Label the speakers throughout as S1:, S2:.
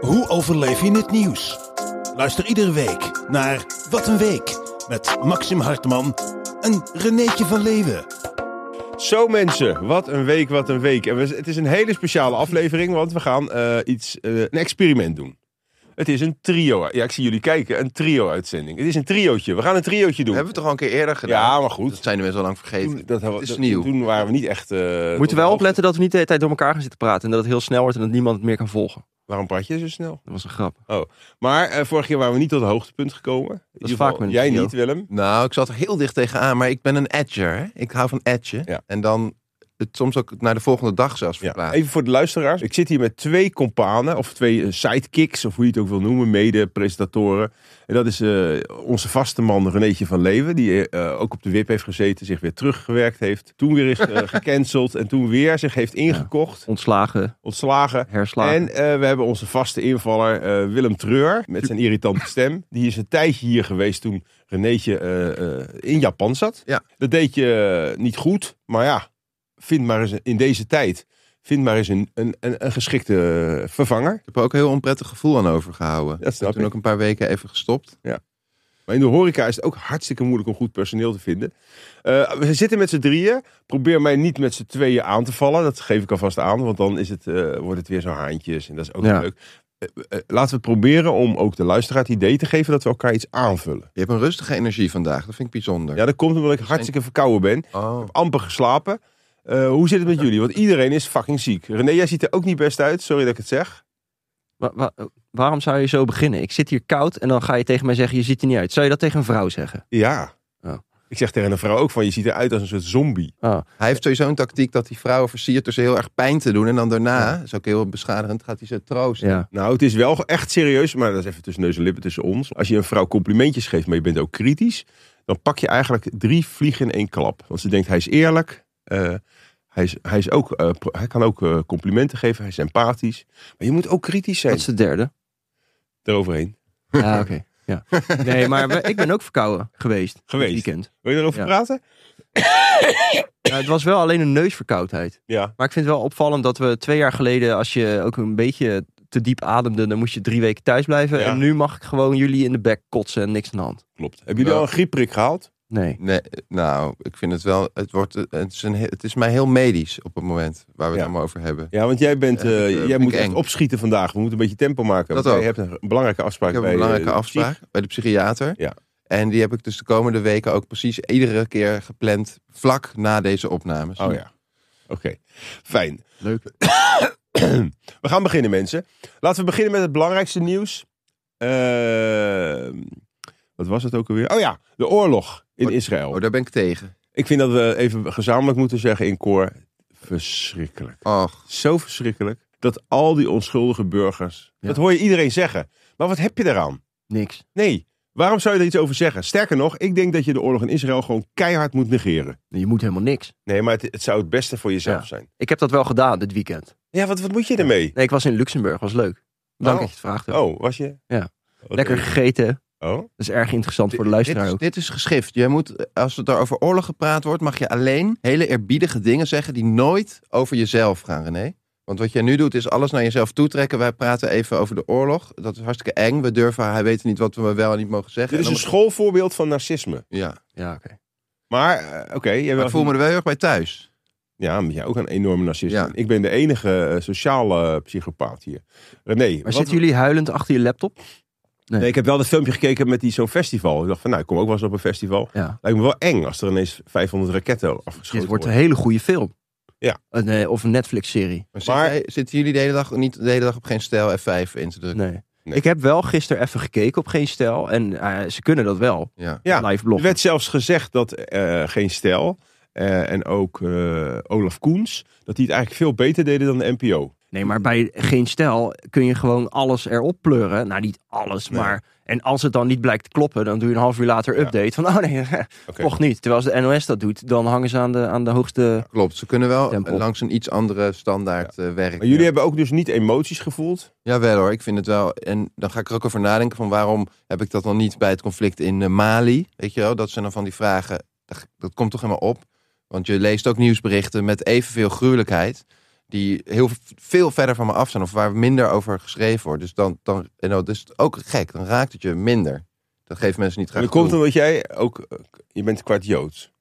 S1: Hoe overleef je het nieuws? Luister iedere week naar Wat een Week met Maxim Hartman en Renéetje van Leeuwen.
S2: Zo mensen, wat een week, wat een week. En we, het is een hele speciale aflevering, want we gaan eh, iets, eh, een experiment doen. Het is een trio. Ja, ik zie jullie kijken. Een trio-uitzending. Het is een triootje. We gaan een triootje doen.
S3: Dat hebben we toch al een keer eerder gedaan?
S2: Ja, maar goed.
S3: Dat zijn de mensen al lang vergeten.
S2: Toen- dat, hebben we-
S3: Het is
S2: dat-
S3: nieuw.
S2: Toen waren we niet echt... eh, tot
S4: Moeten we wel
S2: de
S4: opletten dat we niet de hele tijd door elkaar gaan zitten praten. En dat het heel snel wordt en dat niemand het meer kan volgen.
S2: hoogte- Waarom praat je zo snel?
S4: Dat was een grap.
S2: Maar eh vorig jaar waren we niet tot het hoogtepunt gekomen. In ieder geval,
S4: vaak mijn
S2: Jij
S4: trio.
S2: niet, Willem.
S3: Nou, ik zat er heel dicht tegenaan, maar ik ben een edger. Hè? Ik hou van edgen.
S2: Ja.
S3: En dan het soms ook naar de volgende dag zelfs
S2: Ja.
S3: verplaatsen.
S2: Even voor de luisteraars. Ik zit hier met twee companen, of twee eh, sidekicks, of hoe je het ook wil noemen, mede-presentatoren. En dat is eh, onze vaste man Renéetje van Leeuwen, die eh, ook op de WIP heeft gezeten, zich weer teruggewerkt heeft. Toen weer is eh, gecanceld en toen weer zich heeft ingekocht,
S4: Ontslagen,
S2: ontslagen.
S4: herslagen.
S2: En eh, we hebben onze vaste invaller eh, Willem Treur met zijn irritante stem. Die is een tijdje hier geweest toen Renéetje eh, eh, in Japan zat.
S3: Ja.
S2: Dat deed je eh, niet goed, maar ja, vind maar eens een- in deze tijd. Vind maar eens een, een, een, een geschikte eh, vervanger.
S3: Ik heb er ook een heel onprettig gevoel aan overgehouden.
S2: Dat
S3: Ik
S2: snap
S3: ben toen
S2: ik.
S3: ook een paar weken even gestopt.
S2: Maar in de horeca is het ook hartstikke moeilijk om goed personeel te vinden. Eh, we zitten met z'n drieën. Probeer mij niet met z'n tweeën aan te vallen. Dat geef ik alvast aan, want dan is het, eh, wordt het weer zo haantjes. En dat is ook
S4: Ja.
S2: leuk. Eh, eh, laten we het proberen om ook de luisteraar het idee te geven dat we elkaar iets aanvullen.
S3: Je hebt een rustige energie vandaag. Dat vind ik bijzonder.
S2: Ja, dat komt omdat ik hartstikke verkouden ben.
S3: Oh.
S2: Amper geslapen. Eh, hoe zit het met jullie? Want iedereen is fucking ziek. René, jij ziet er ook niet best uit. Sorry dat ik het zeg.
S4: Wa- wa- waarom zou je zo beginnen? Ik zit hier koud en dan ga je tegen mij zeggen, je ziet er niet uit. Zou je dat tegen een vrouw zeggen?
S2: Ja.
S4: Ja.
S2: Ik zeg tegen een vrouw ook van, je ziet eruit als een soort zombie.
S3: Hij heeft sowieso een tactiek dat die vrouwen versiert door ze heel erg pijn te doen. En dan daarna, is ook heel beschadigend, gaat hij ze troosten.
S4: Ja.
S2: Nou, het is wel echt serieus, maar dat is even tussen neus en lippen tussen ons. Als je een vrouw complimentjes geeft, maar je bent ook kritisch, dan pak je eigenlijk drie vliegen in één klap. Want ze denkt, hij is eerlijk, eh, hij, is, hij, is ook, eh, pro- hij kan ook eh, complimenten geven, hij is empathisch. Maar je moet ook kritisch
S4: Dat
S2: zijn
S4: is de derde.
S2: daaroverheen.
S4: Ja, oké. Ja. Nee, maar we- ik ben ook verkouden geweest. dit
S2: Geweest.
S4: weekend.
S2: Wil je erover
S4: Ja.
S2: praten?
S4: Ja, het was wel alleen een neusverkoudheid.
S2: Ja.
S4: Maar ik vind het wel opvallend dat we twee jaar geleden, als je ook een beetje te diep ademde, dan moest je drie weken thuis blijven.
S2: Ja.
S4: En nu mag ik gewoon jullie in de bek kotsen en niks aan de hand.
S2: Klopt. Hebben jullie
S3: Ja.
S2: al een griepprik gehaald?
S4: Nee.
S3: Nee, nou, ik vind het wel. Het, wordt, het, is een, he- het is mij heel medisch op het moment waar we
S2: Ja.
S3: het allemaal over hebben.
S2: Ja, want jij, bent,
S3: Ja,
S2: eh,
S3: dat, eh, vind
S2: jij
S3: ik
S2: moet echt
S3: eng.
S2: opschieten vandaag. We moeten een beetje tempo maken.
S3: Dat
S2: want
S3: ook.
S2: Jij hebt een belangrijke afspraak
S3: Ik heb
S2: bij
S3: een belangrijke
S2: eh, de
S3: afspraak bij de psychiater.
S2: Ja.
S3: En die heb ik dus de komende weken ook precies iedere keer gepland. Vlak na deze opnames.
S2: Oh ja. Oké, fijn. Leuk. we gaan beginnen, mensen. Laten we beginnen met het belangrijkste nieuws. Ehm, wat was het ook alweer? Oh ja, de oorlog in
S3: Oh,
S2: Israël.
S3: Oh, daar ben ik tegen.
S2: Ik vind dat we even gezamenlijk moeten zeggen in koor: verschrikkelijk.
S3: Och,
S2: Zo verschrikkelijk dat al die onschuldige burgers.
S4: Ja.
S2: Dat hoor je iedereen zeggen. Maar wat heb je daaraan?
S4: Niks.
S2: Nee. Waarom zou je er iets over zeggen? Sterker nog, ik denk dat je de oorlog in Israël gewoon keihard moet negeren.
S4: Je moet helemaal niks.
S2: Nee, maar het, het zou het beste voor jezelf
S4: Ja.
S2: zijn.
S4: Ik heb dat wel gedaan dit weekend.
S2: Ja, wat, wat moet je ermee?
S4: Nee, ik was in Luxemburg, was leuk. Dank
S2: Oh.
S4: dat je het vraagt. hebt.
S2: Oh, was je?
S4: Ja.
S2: Oké.
S4: Lekker gegeten.
S2: Oh,
S4: Dat is erg interessant voor de
S3: dit
S4: luisteraar
S3: is,
S4: ook.
S3: dit is geschift. Je moet, als het daar over oorlog gepraat wordt, mag je alleen hele eerbiedige dingen zeggen die nooit over jezelf gaan, René. Want wat jij nu doet is alles naar jezelf toetrekken. Wij praten even over de oorlog. Dat is hartstikke eng. We durven, hij weet niet wat we wel en niet mogen zeggen.
S2: dit is
S3: En
S2: een
S3: dan-
S2: schoolvoorbeeld van narcisme.
S3: Ja,
S4: Ja, oké.
S2: Maar, eh, oké. jij
S3: maar
S2: wel-
S3: ik voel me er wel heel erg bij thuis.
S2: Ja, maar jij ook een enorme narcist.
S3: Ja.
S2: bent. Ik ben de enige eh, sociale psychopaat hier. Nee,
S4: Maar zitten jullie huilend achter je laptop?
S2: Nee, ik heb wel dat filmpje gekeken met die zo'n festival. Ik dacht van, nou, ik kom ook wel eens op een festival.
S4: Ja.
S2: Lijkt me wel eng als er ineens 500 raketten afgeschoten
S4: Dit
S2: worden.
S4: wordt een hele goede film.
S2: Ja.
S4: Een, eh, of een Netflix-serie.
S3: Maar,
S2: Maar-
S3: zit jij- zitten jullie de hele dag niet de hele dag op geen stijl F5 in te drukken?
S4: Nee.
S2: Nee.
S4: Ik heb wel gisteren even gekeken op Geen Stijl. En eh, ze kunnen dat wel.
S3: Ja.
S2: Ja,
S4: Live
S3: eh,
S4: blog.
S2: Er werd zelfs gezegd dat eh, Geen Stijl eh, en ook eh, Olaf Koens... dat die het eigenlijk veel beter deden dan de NPO.
S4: Nee, maar bij geen stijl kun je gewoon alles erop pleuren. Nou, niet alles,
S2: Nee.
S4: maar... En als het dan niet blijkt te kloppen, dan doe je een half uur later
S2: Ja.
S4: update. Van, oh nee,
S2: Oké.
S4: toch niet. Terwijl als de NOS dat doet, dan hangen ze aan de, aan de hoogste...
S3: Klopt, ze kunnen wel
S4: Tempo.
S3: langs een iets andere standaard eh, werken.
S2: Maar jullie hebben ook dus niet emoties gevoeld.
S3: Jawel hoor, ik vind het wel. En dan ga ik er ook over nadenken van waarom heb ik dat dan niet bij het conflict in eh, Mali? Weet je wel, dat zijn dan van die vragen. Dat, dat komt toch helemaal op. Want je leest ook nieuwsberichten met evenveel gruwelijkheid. Die heel v- veel verder van me af zijn of waar minder over geschreven wordt. Dus dan, dan en dat is ook gek. Dan raakt het je minder. Dat geeft mensen niet graag.
S2: dat komt
S3: toe.
S2: omdat jij ook, eh, je bent kwart Joods.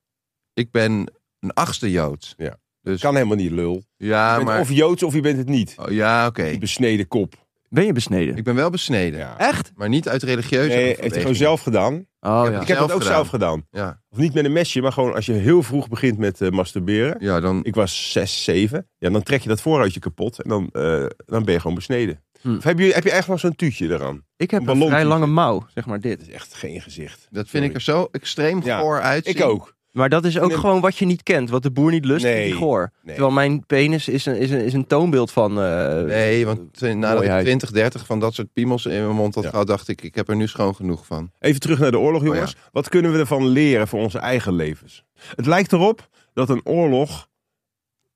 S3: Ik ben een achtste Jood.
S2: Ja.
S3: Dus
S2: Kan helemaal niet lul. Je
S3: ja,
S2: bent
S3: maar.
S2: Of Joods of je bent het niet.
S3: Oh, ja, oké.
S2: Die besneden kop.
S4: Ben je besneden?
S3: Ik ben wel besneden.
S2: Ja.
S4: Echt?
S3: Maar niet uit religieuze.
S2: Nee, heeft hij gewoon
S3: overwegingen.
S2: zelf gedaan.
S4: Oh ja.
S2: Ik heb dat ook
S3: Zelf gedaan.
S2: zelf gedaan.
S3: Ja.
S2: Of niet met een mesje, maar gewoon als je heel vroeg begint met eh, masturberen.
S3: Ja, dan
S2: Ik was 6, 7. Ja, dan trek je dat vooruitje kapot en dan, eh, dan ben je gewoon besneden.
S4: Hm.
S2: Of heb je, heb je echt nog zo'n tuutje eraan?
S4: Ik heb
S2: Een
S4: een
S2: ballon
S4: vrij
S2: die-
S4: lange mouw, zeg maar
S2: Dat
S4: dit.
S2: is echt geen gezicht.
S3: Dat vind ik er zo extreem
S2: Ja,
S3: goor uitzien.
S2: Ik ook.
S4: Maar dat is ook
S2: Nee.
S4: gewoon wat je niet kent. Wat de boer niet lust,
S2: Nee.
S4: die goor.
S2: Nee.
S4: Terwijl mijn penis is een, is een, is een toonbeeld van... eh,
S3: Nee, want eh, nadat ik
S4: Mooiheid.
S3: 20, 30 van dat soort piemels in mijn mond had
S2: Ja.
S3: gehad, dacht ik, ik heb er nu schoon genoeg van.
S2: Even terug naar de oorlog,
S3: Oh, ja.
S2: jongens. Wat kunnen we ervan leren voor onze eigen levens? Het lijkt erop dat een oorlog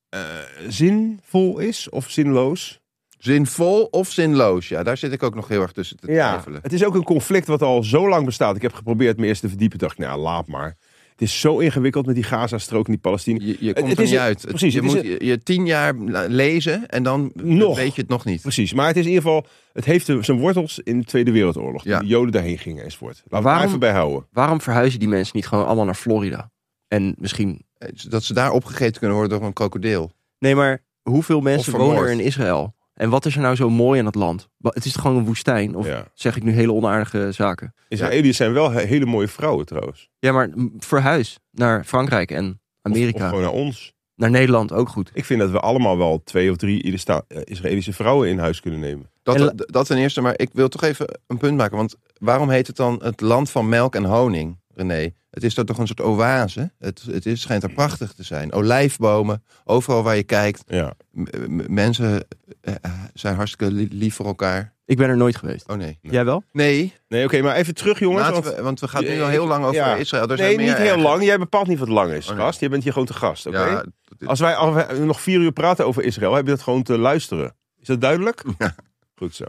S2: eh, zinvol is of zinloos.
S3: Zinvol of zinloos? Ja, daar zit ik ook nog heel erg tussen te twijfelen.
S2: het is ook een conflict wat al zo lang bestaat. Ik heb geprobeerd me eerst te verdiepen. Dacht ik, nou, laat maar. Het is zo ingewikkeld met die Gaza-strook en die Palestina.
S3: Je, je komt
S2: het
S3: er
S2: is
S3: niet
S2: een-
S3: uit. Het-
S2: precies,
S3: je
S2: het is
S3: moet je, je tien jaar la- lezen en dan
S2: Nog.
S3: weet je het nog niet.
S2: Precies, maar het is in ieder geval... Het heeft zijn wortels in de Tweede Wereldoorlog.
S3: Ja.
S2: Toen de Joden daarheen gingen enzovoort. Laten we
S4: waarom-
S2: daar even bij houden.
S4: Waarom verhuizen die mensen niet gewoon allemaal naar Florida? En misschien
S3: Eh, Dat ze daar opgegeten kunnen worden door een krokodil.
S4: Nee, maar hoeveel mensen
S3: vermoord.
S4: wonen er in Israël? En wat is er nou zo mooi aan dat land? Wa- Het is toch gewoon een woestijn? Of
S2: Ja.
S4: zeg ik nu hele onaardige zaken?
S2: Israëliërs zijn wel he- hele mooie vrouwen trouwens.
S4: Ja, maar m- verhuis naar Frankrijk en
S2: Of-
S4: Amerika.
S2: Of gewoon naar ons.
S4: naar Nederland ook goed.
S2: Ik vind dat we allemaal wel twee of drie Ida- sta- eh, Israëlische vrouwen in huis kunnen nemen.
S3: Dat,
S4: En la-
S3: dat- dat ten eerste, maar ik wil toch even een punt maken. Want waarom heet het dan het land van melk en honing, René? Het is daar toch een soort oase? Het, het is, schijnt er prachtig te zijn. Olijfbomen, overal waar je kijkt.
S2: Ja.
S3: M- m- mensen eh, eh, zijn hartstikke li- lief voor elkaar.
S4: Ik ben er nooit geweest.
S3: Oh nee.
S4: Jij wel?
S3: Nee,
S2: Nee, oké, maar even terug, jongens.
S3: laten
S2: Want,
S3: we, want we gaan nu
S2: Ja,
S3: al heel
S2: ik-
S3: lang over
S2: ja.
S3: Israël. Er
S2: nee,
S3: zijn
S2: niet
S3: meer
S2: heel
S3: erger-
S2: lang. Jij bepaalt niet wat lang is,
S3: Oh, nee.
S2: gast. Je bent hier gewoon te gast, oké?
S3: Ja, dit-
S2: Als, wij, als wij nog vier uur praten over Israël, heb je dat gewoon te luisteren. Is dat duidelijk?
S3: Ja.
S2: Goed zo.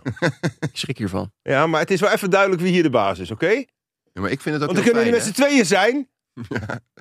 S4: Ik schrik hiervan.
S2: Ja, maar het is wel even duidelijk wie hier de baas is, oké?
S3: Ja, maar ik vind het ook
S2: Want dan
S3: heel
S2: kunnen jullie met
S3: fijn,
S2: z'n tweeën zijn.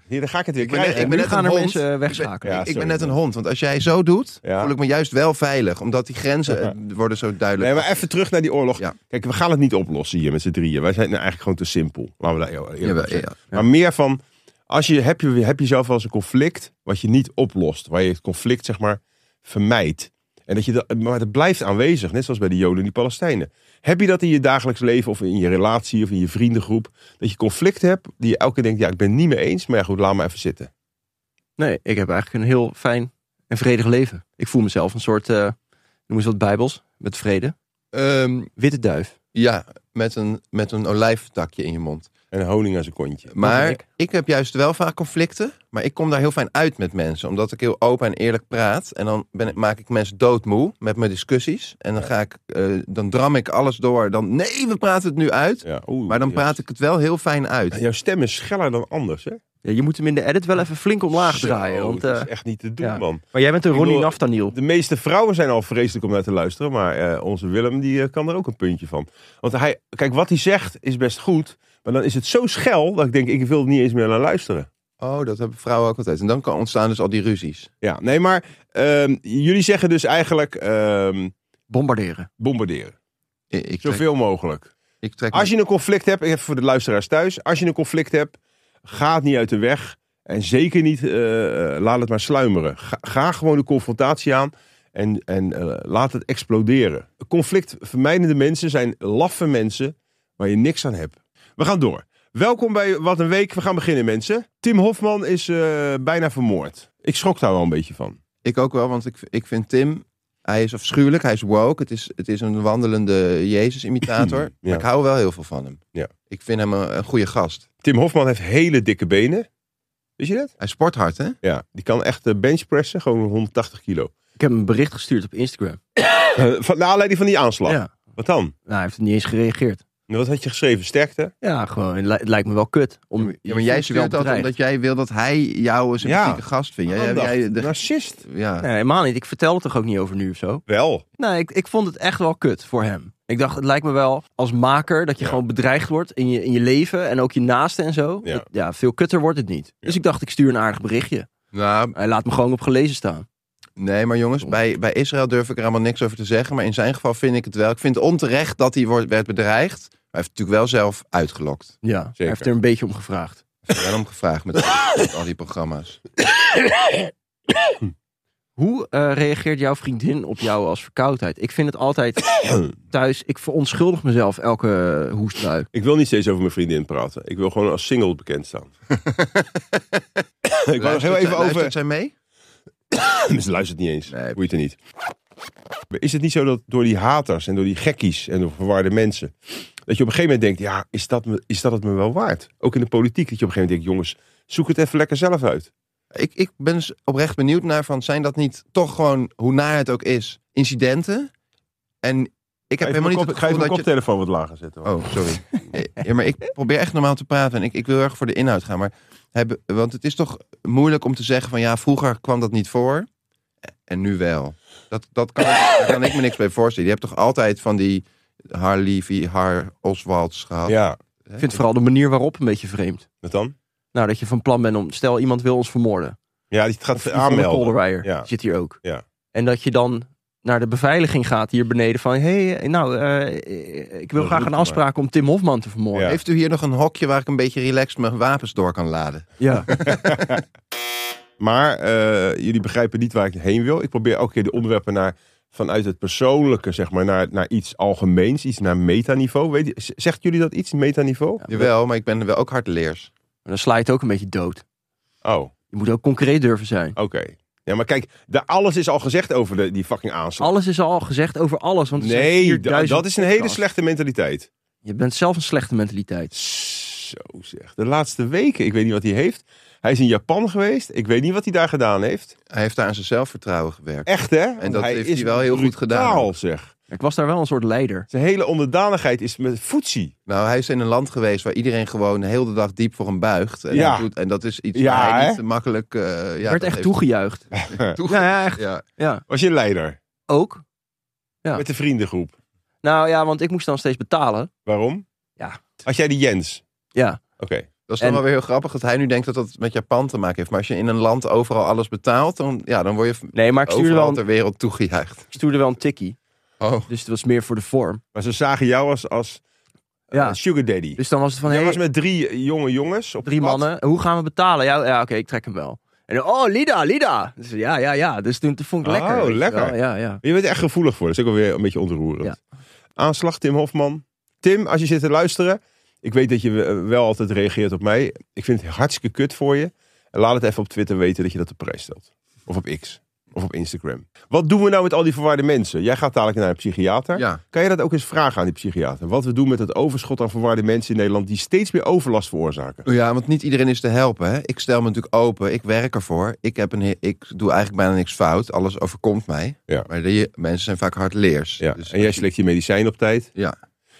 S2: Hier, dan ga ik het weer
S3: ben
S2: krijgen.
S3: net- ik ben
S4: nu
S3: net
S4: gaan
S3: een
S4: er
S3: hond.
S4: mensen eh,
S3: hè?
S4: wegschakelen.
S2: Ja,
S3: ik
S2: sorry.
S3: ben net een hond, want als jij zo doet,
S2: Ja.
S3: voel ik me juist wel veilig. Omdat die grenzen eh, worden zo duidelijk.
S2: Nee, maar even terug naar die oorlog.
S3: Ja.
S2: Kijk, we gaan het niet oplossen hier met z'n drieën. Wij zijn nou eigenlijk gewoon te simpel. Laten we daar eerlijk over
S3: Jawel,
S2: zijn.
S3: ja.
S2: Maar meer van, als je, heb, je, heb je zelf wel eens een conflict wat je niet oplost. Waar je het conflict, zeg maar, vermijdt. En dat je dat, maar het blijft aanwezig, net zoals bij de Joden en die Palestijnen. Heb je dat in je dagelijks leven of in je relatie of in je vriendengroep? Dat je conflicten hebt die je elke keer denkt, ja, ik ben het niet mee eens. Maar ja, goed, laat maar even zitten.
S4: Nee, ik heb eigenlijk een heel fijn en vredig leven. Ik voel mezelf een soort, eh noem eens wat bijbels, met vrede.
S3: Ehm,
S4: Witte duif.
S3: Ja, met een, met een olijftakje in je mond.
S2: En honing aan zijn kontje.
S3: Maar
S4: ik.
S3: ik. heb juist wel vaak conflicten. Maar ik kom daar heel fijn uit met mensen. Omdat ik heel open en eerlijk praat. En dan ben, ik- maak ik mensen doodmoe met mijn discussies. En dan, ga ik, eh, dan dram ik alles door. Dan nee, we praten het nu uit.
S2: Ja, oeh,
S3: Maar dan
S2: ja.
S3: praat ik het wel heel fijn uit.
S2: Jouw stem is scheller dan anders, hè?
S4: Ja, je moet hem in de edit wel even flink omlaag
S2: Zo,
S4: draaien. Want,
S2: dat
S4: eh,
S2: is echt niet te doen,
S4: ja.
S2: man.
S4: maar jij bent een
S2: Ik
S4: Ronnie
S2: bedoel-
S4: Naftaniel.
S2: De meeste vrouwen zijn al vreselijk om naar te luisteren. Maar eh, onze Willem die, eh, kan er ook een puntje van. Want hij, kijk, wat hij zegt is best goed. Maar dan is het zo schel dat ik denk, ik wil er niet eens meer naar luisteren.
S3: Oh, dat hebben vrouwen ook altijd. En dan kan ontstaan dus al die ruzies.
S2: Ja, nee, maar ehm, jullie zeggen dus eigenlijk ehm,
S4: Bombarderen.
S2: bombarderen.
S3: I- Ik trek,
S2: Zoveel mogelijk.
S3: ik trek
S2: Als je een conflict hebt, even voor de luisteraars thuis. Als je een conflict hebt, ga het niet uit de weg. En zeker niet, eh, eh, laat het maar sluimeren. Ga, ga gewoon de confrontatie aan en, en eh, laat het exploderen. Conflictvermijdende mensen zijn laffe mensen waar je niks aan hebt. We gaan door. Welkom bij Wat een Week. We gaan beginnen, mensen. Tim Hofman is eh, bijna vermoord. Ik schrok daar wel een beetje van.
S3: Ik ook wel, want ik, ik vind Tim... Hij is afschuwelijk, hij is woke. Het is, het is een wandelende Jezus-imitator.
S2: Ja.
S3: Maar ik hou wel heel veel van hem.
S2: Ja.
S3: Ik vind hem een, een goede gast.
S2: Tim Hofman heeft hele dikke benen. Wist je dat?
S3: Hij sport hard, hè?
S2: Ja, die kan echt eh, benchpressen, gewoon 180 kilo.
S4: Ik heb hem een bericht gestuurd op Instagram.
S2: Eh, Van, naar aanleiding van die aanslag.
S4: Ja.
S2: Wat dan?
S4: Nou, hij heeft niet eens gereageerd.
S2: En Wat had je geschreven? Sterkte?
S4: Ja, gewoon. Het li- het lijkt me wel kut. Om,
S3: Ja, maar jij
S4: je voelt je wel
S3: stuurt dat
S4: bedreigd.
S3: omdat jij wil dat hij jou een sympathieke
S2: Ja.
S3: gast vindt. Jij,
S2: Aandacht.
S3: jij, de,
S2: Oh, Narcist.
S3: ja.
S4: Nee, helemaal niet. Ik vertel het toch ook niet over nu of zo.
S2: Wel.
S4: Nee, ik, ik vond het echt wel kut voor hem. Ik dacht, het lijkt me wel als maker dat je gewoon bedreigd wordt in je, in je leven en ook je naasten en zo.
S2: Ja.
S4: Dat- ja, veel kutter wordt het niet. Dus ik dacht, ik stuur een aardig berichtje.
S3: Nou,
S4: Hij laat me gewoon op gelezen staan.
S3: nee, maar jongens, bij, bij Israël durf ik er allemaal niks over te zeggen. Maar in zijn geval vind ik het wel. Ik vind het onterecht dat hij wordt, werd bedreigd. Maar hij heeft het natuurlijk wel zelf uitgelokt.
S4: Ja, hij heeft er een beetje om gevraagd.
S3: Ik heb wel om gevraagd met, al- met al die programma's.
S4: Hoe eh, reageert jouw vriendin op jou als verkoudheid? Ik vind het altijd thuis, ik verontschuldig mezelf elke eh, nou, hoestbui.
S2: Ik wil niet steeds over mijn vriendin praten. Ik wil gewoon als single bekend staan. ik wou nog heel even over...
S3: Luistert zij mee?
S2: Ze luistert niet eens.
S3: Nee.
S2: Boeit er niet. Maar Is het niet zo dat door die haters en door die gekkies en door verwarde mensen... dat je op een gegeven moment denkt, ja, is dat, me, is dat het me wel waard? Ook in de politiek, dat je op een gegeven moment denkt... jongens, zoek het even lekker zelf uit.
S3: Ik, ik ben dus oprecht benieuwd naar van, zijn dat niet toch gewoon, hoe naar het ook is, incidenten? En ik heb
S2: Ga even
S3: helemaal
S2: mijn
S3: niet
S2: kop-
S3: het
S2: Ga even
S3: gevoel
S2: mijn
S3: dat je...
S2: koptelefoon wat lager zetten. hoor.
S3: Oh, sorry. Ja, maar ik probeer echt normaal te praten en ik, ik wil erg voor de inhoud gaan. Maar hebben, want het is toch moeilijk om te zeggen van ja, vroeger kwam dat niet voor en nu wel. Dat, dat kan, daar kan ik me niks bij voorstellen. Je hebt toch altijd van die Har Levy, Har Oswalds gehad?
S2: Ja,
S3: hè?
S4: Ik vind vooral de manier waarop een beetje vreemd.
S2: wat dan?
S4: Nou, dat je van plan bent om, stel iemand wil ons vermoorden.
S2: Ja, die gaat
S4: Yvonne
S2: aanmelden.
S4: Kolderweijer
S2: Ja.
S4: zit hier ook.
S2: Ja.
S4: En dat je dan naar de beveiliging gaat hier beneden van... hé, hey, nou, eh, ik wil
S2: Dat
S4: graag
S2: roept
S4: een
S2: maar.
S4: afspraak om Tim Hofman te vermoorden.
S2: Ja.
S3: Heeft u hier nog een hokje waar ik een beetje relaxed mijn wapens door kan laden?
S4: Ja.
S2: Maar eh, jullie begrijpen niet waar ik heen wil. Ik probeer elke keer de onderwerpen naar, vanuit het persoonlijke, zeg maar, naar, naar iets algemeens, iets naar metaniveau. Weet je, z- zegt jullie dat iets, metaniveau?
S3: Jawel, maar ik ben wel ook hardleers.
S4: Dan sla je het ook een beetje dood.
S2: Oh, oké.
S4: Je moet ook concreet durven zijn.
S2: Ja, maar kijk, daar alles is al gezegd over de, die fucking aanslag.
S4: Alles is al gezegd over alles. Want er zijn
S2: nee, da-
S4: 4000
S2: dat is een hele
S4: podcasts.
S2: slechte mentaliteit.
S4: Je bent zelf een slechte mentaliteit.
S2: Zo zeg. De laatste weken, ik weet niet wat hij heeft. Hij is in Japan geweest. Ik weet niet wat hij daar gedaan heeft.
S3: Hij heeft daar aan zijn zelfvertrouwen gewerkt.
S2: Echt hè? En
S3: dat heeft hij wel heel goed gedaan.
S2: zeg.
S4: Ik was daar wel een soort leider.
S2: Zijn hele onderdanigheid is met voetsie.
S3: Nou, hij is in een land geweest waar iedereen gewoon heel de dag diep voor hem buigt. En,
S2: Ja.
S3: hij doet- en dat is iets
S2: Ja,
S3: waar hij
S2: hè?
S3: niet makkelijk... eh, ja, dat
S4: werd echt
S3: heeft-
S4: toegejuicht.
S3: toege-
S4: Ja, ja, echt.
S3: Ja.
S4: Ja.
S2: Was je leider?
S4: Ook? Ja.
S2: Met de vriendengroep.
S4: Nou ja, want ik moest dan steeds betalen.
S2: Waarom?
S4: Ja.
S2: Had jij die Jens?
S4: Ja.
S2: Oké.
S3: Dat is dan
S4: En-
S3: wel weer heel grappig dat hij nu denkt dat dat met Japan te maken heeft. Maar als je in een land overal alles betaalt, dan, ja, dan word je v-
S4: Nee, maar ik stuurde, wel
S3: overal
S4: een,
S3: ter wereld toegejuicht.
S4: ik stuurde wel een tikkie.
S3: Oh.
S4: Dus het was meer voor de vorm.
S2: Maar ze zagen jou als, als eh,
S4: Ja.
S2: sugar daddy.
S4: Dus dan was het van...
S2: jij
S4: hey,
S2: was met drie jonge jongens op
S4: drie
S2: pad.
S4: mannen. Hoe gaan we betalen? Ja, ja oké, ik trek hem wel. En dan, oh, Lida, Lida. Dus, ja, ja, ja. Dus toen toen vond ik
S2: Oh,
S4: lekker. weet je
S2: lekker.
S4: wel. Ja, ja.
S2: Je bent er echt gevoelig voor. Dat is ook alweer een beetje ontroerend. Aanslag Tim Hofman. Tim, als je zit te luisteren. Ik weet dat je eh, wel altijd reageert op mij. Ik vind het hartstikke kut voor je. En laat het even op Twitter weten dat je dat op prijs stelt. Of op X. Of op Instagram. Wat doen we nou met al die verwaarde mensen? Jij gaat dadelijk naar een psychiater.
S3: Ja.
S2: Kan je dat ook eens vragen aan die psychiater? Wat we doen met het overschot aan verwaarde mensen in Nederland die steeds meer overlast veroorzaken?
S3: Oh ja, want niet iedereen is te helpen. Hè. Ik stel me natuurlijk open, ik werk ervoor. Ik, heb een, he- ik doe eigenlijk bijna niks fout, alles overkomt mij.
S2: Ja.
S3: Maar die mensen zijn vaak hardleers.
S2: Ja.
S3: Dus
S2: en jij slikt je medicijn op tijd.
S3: Ja.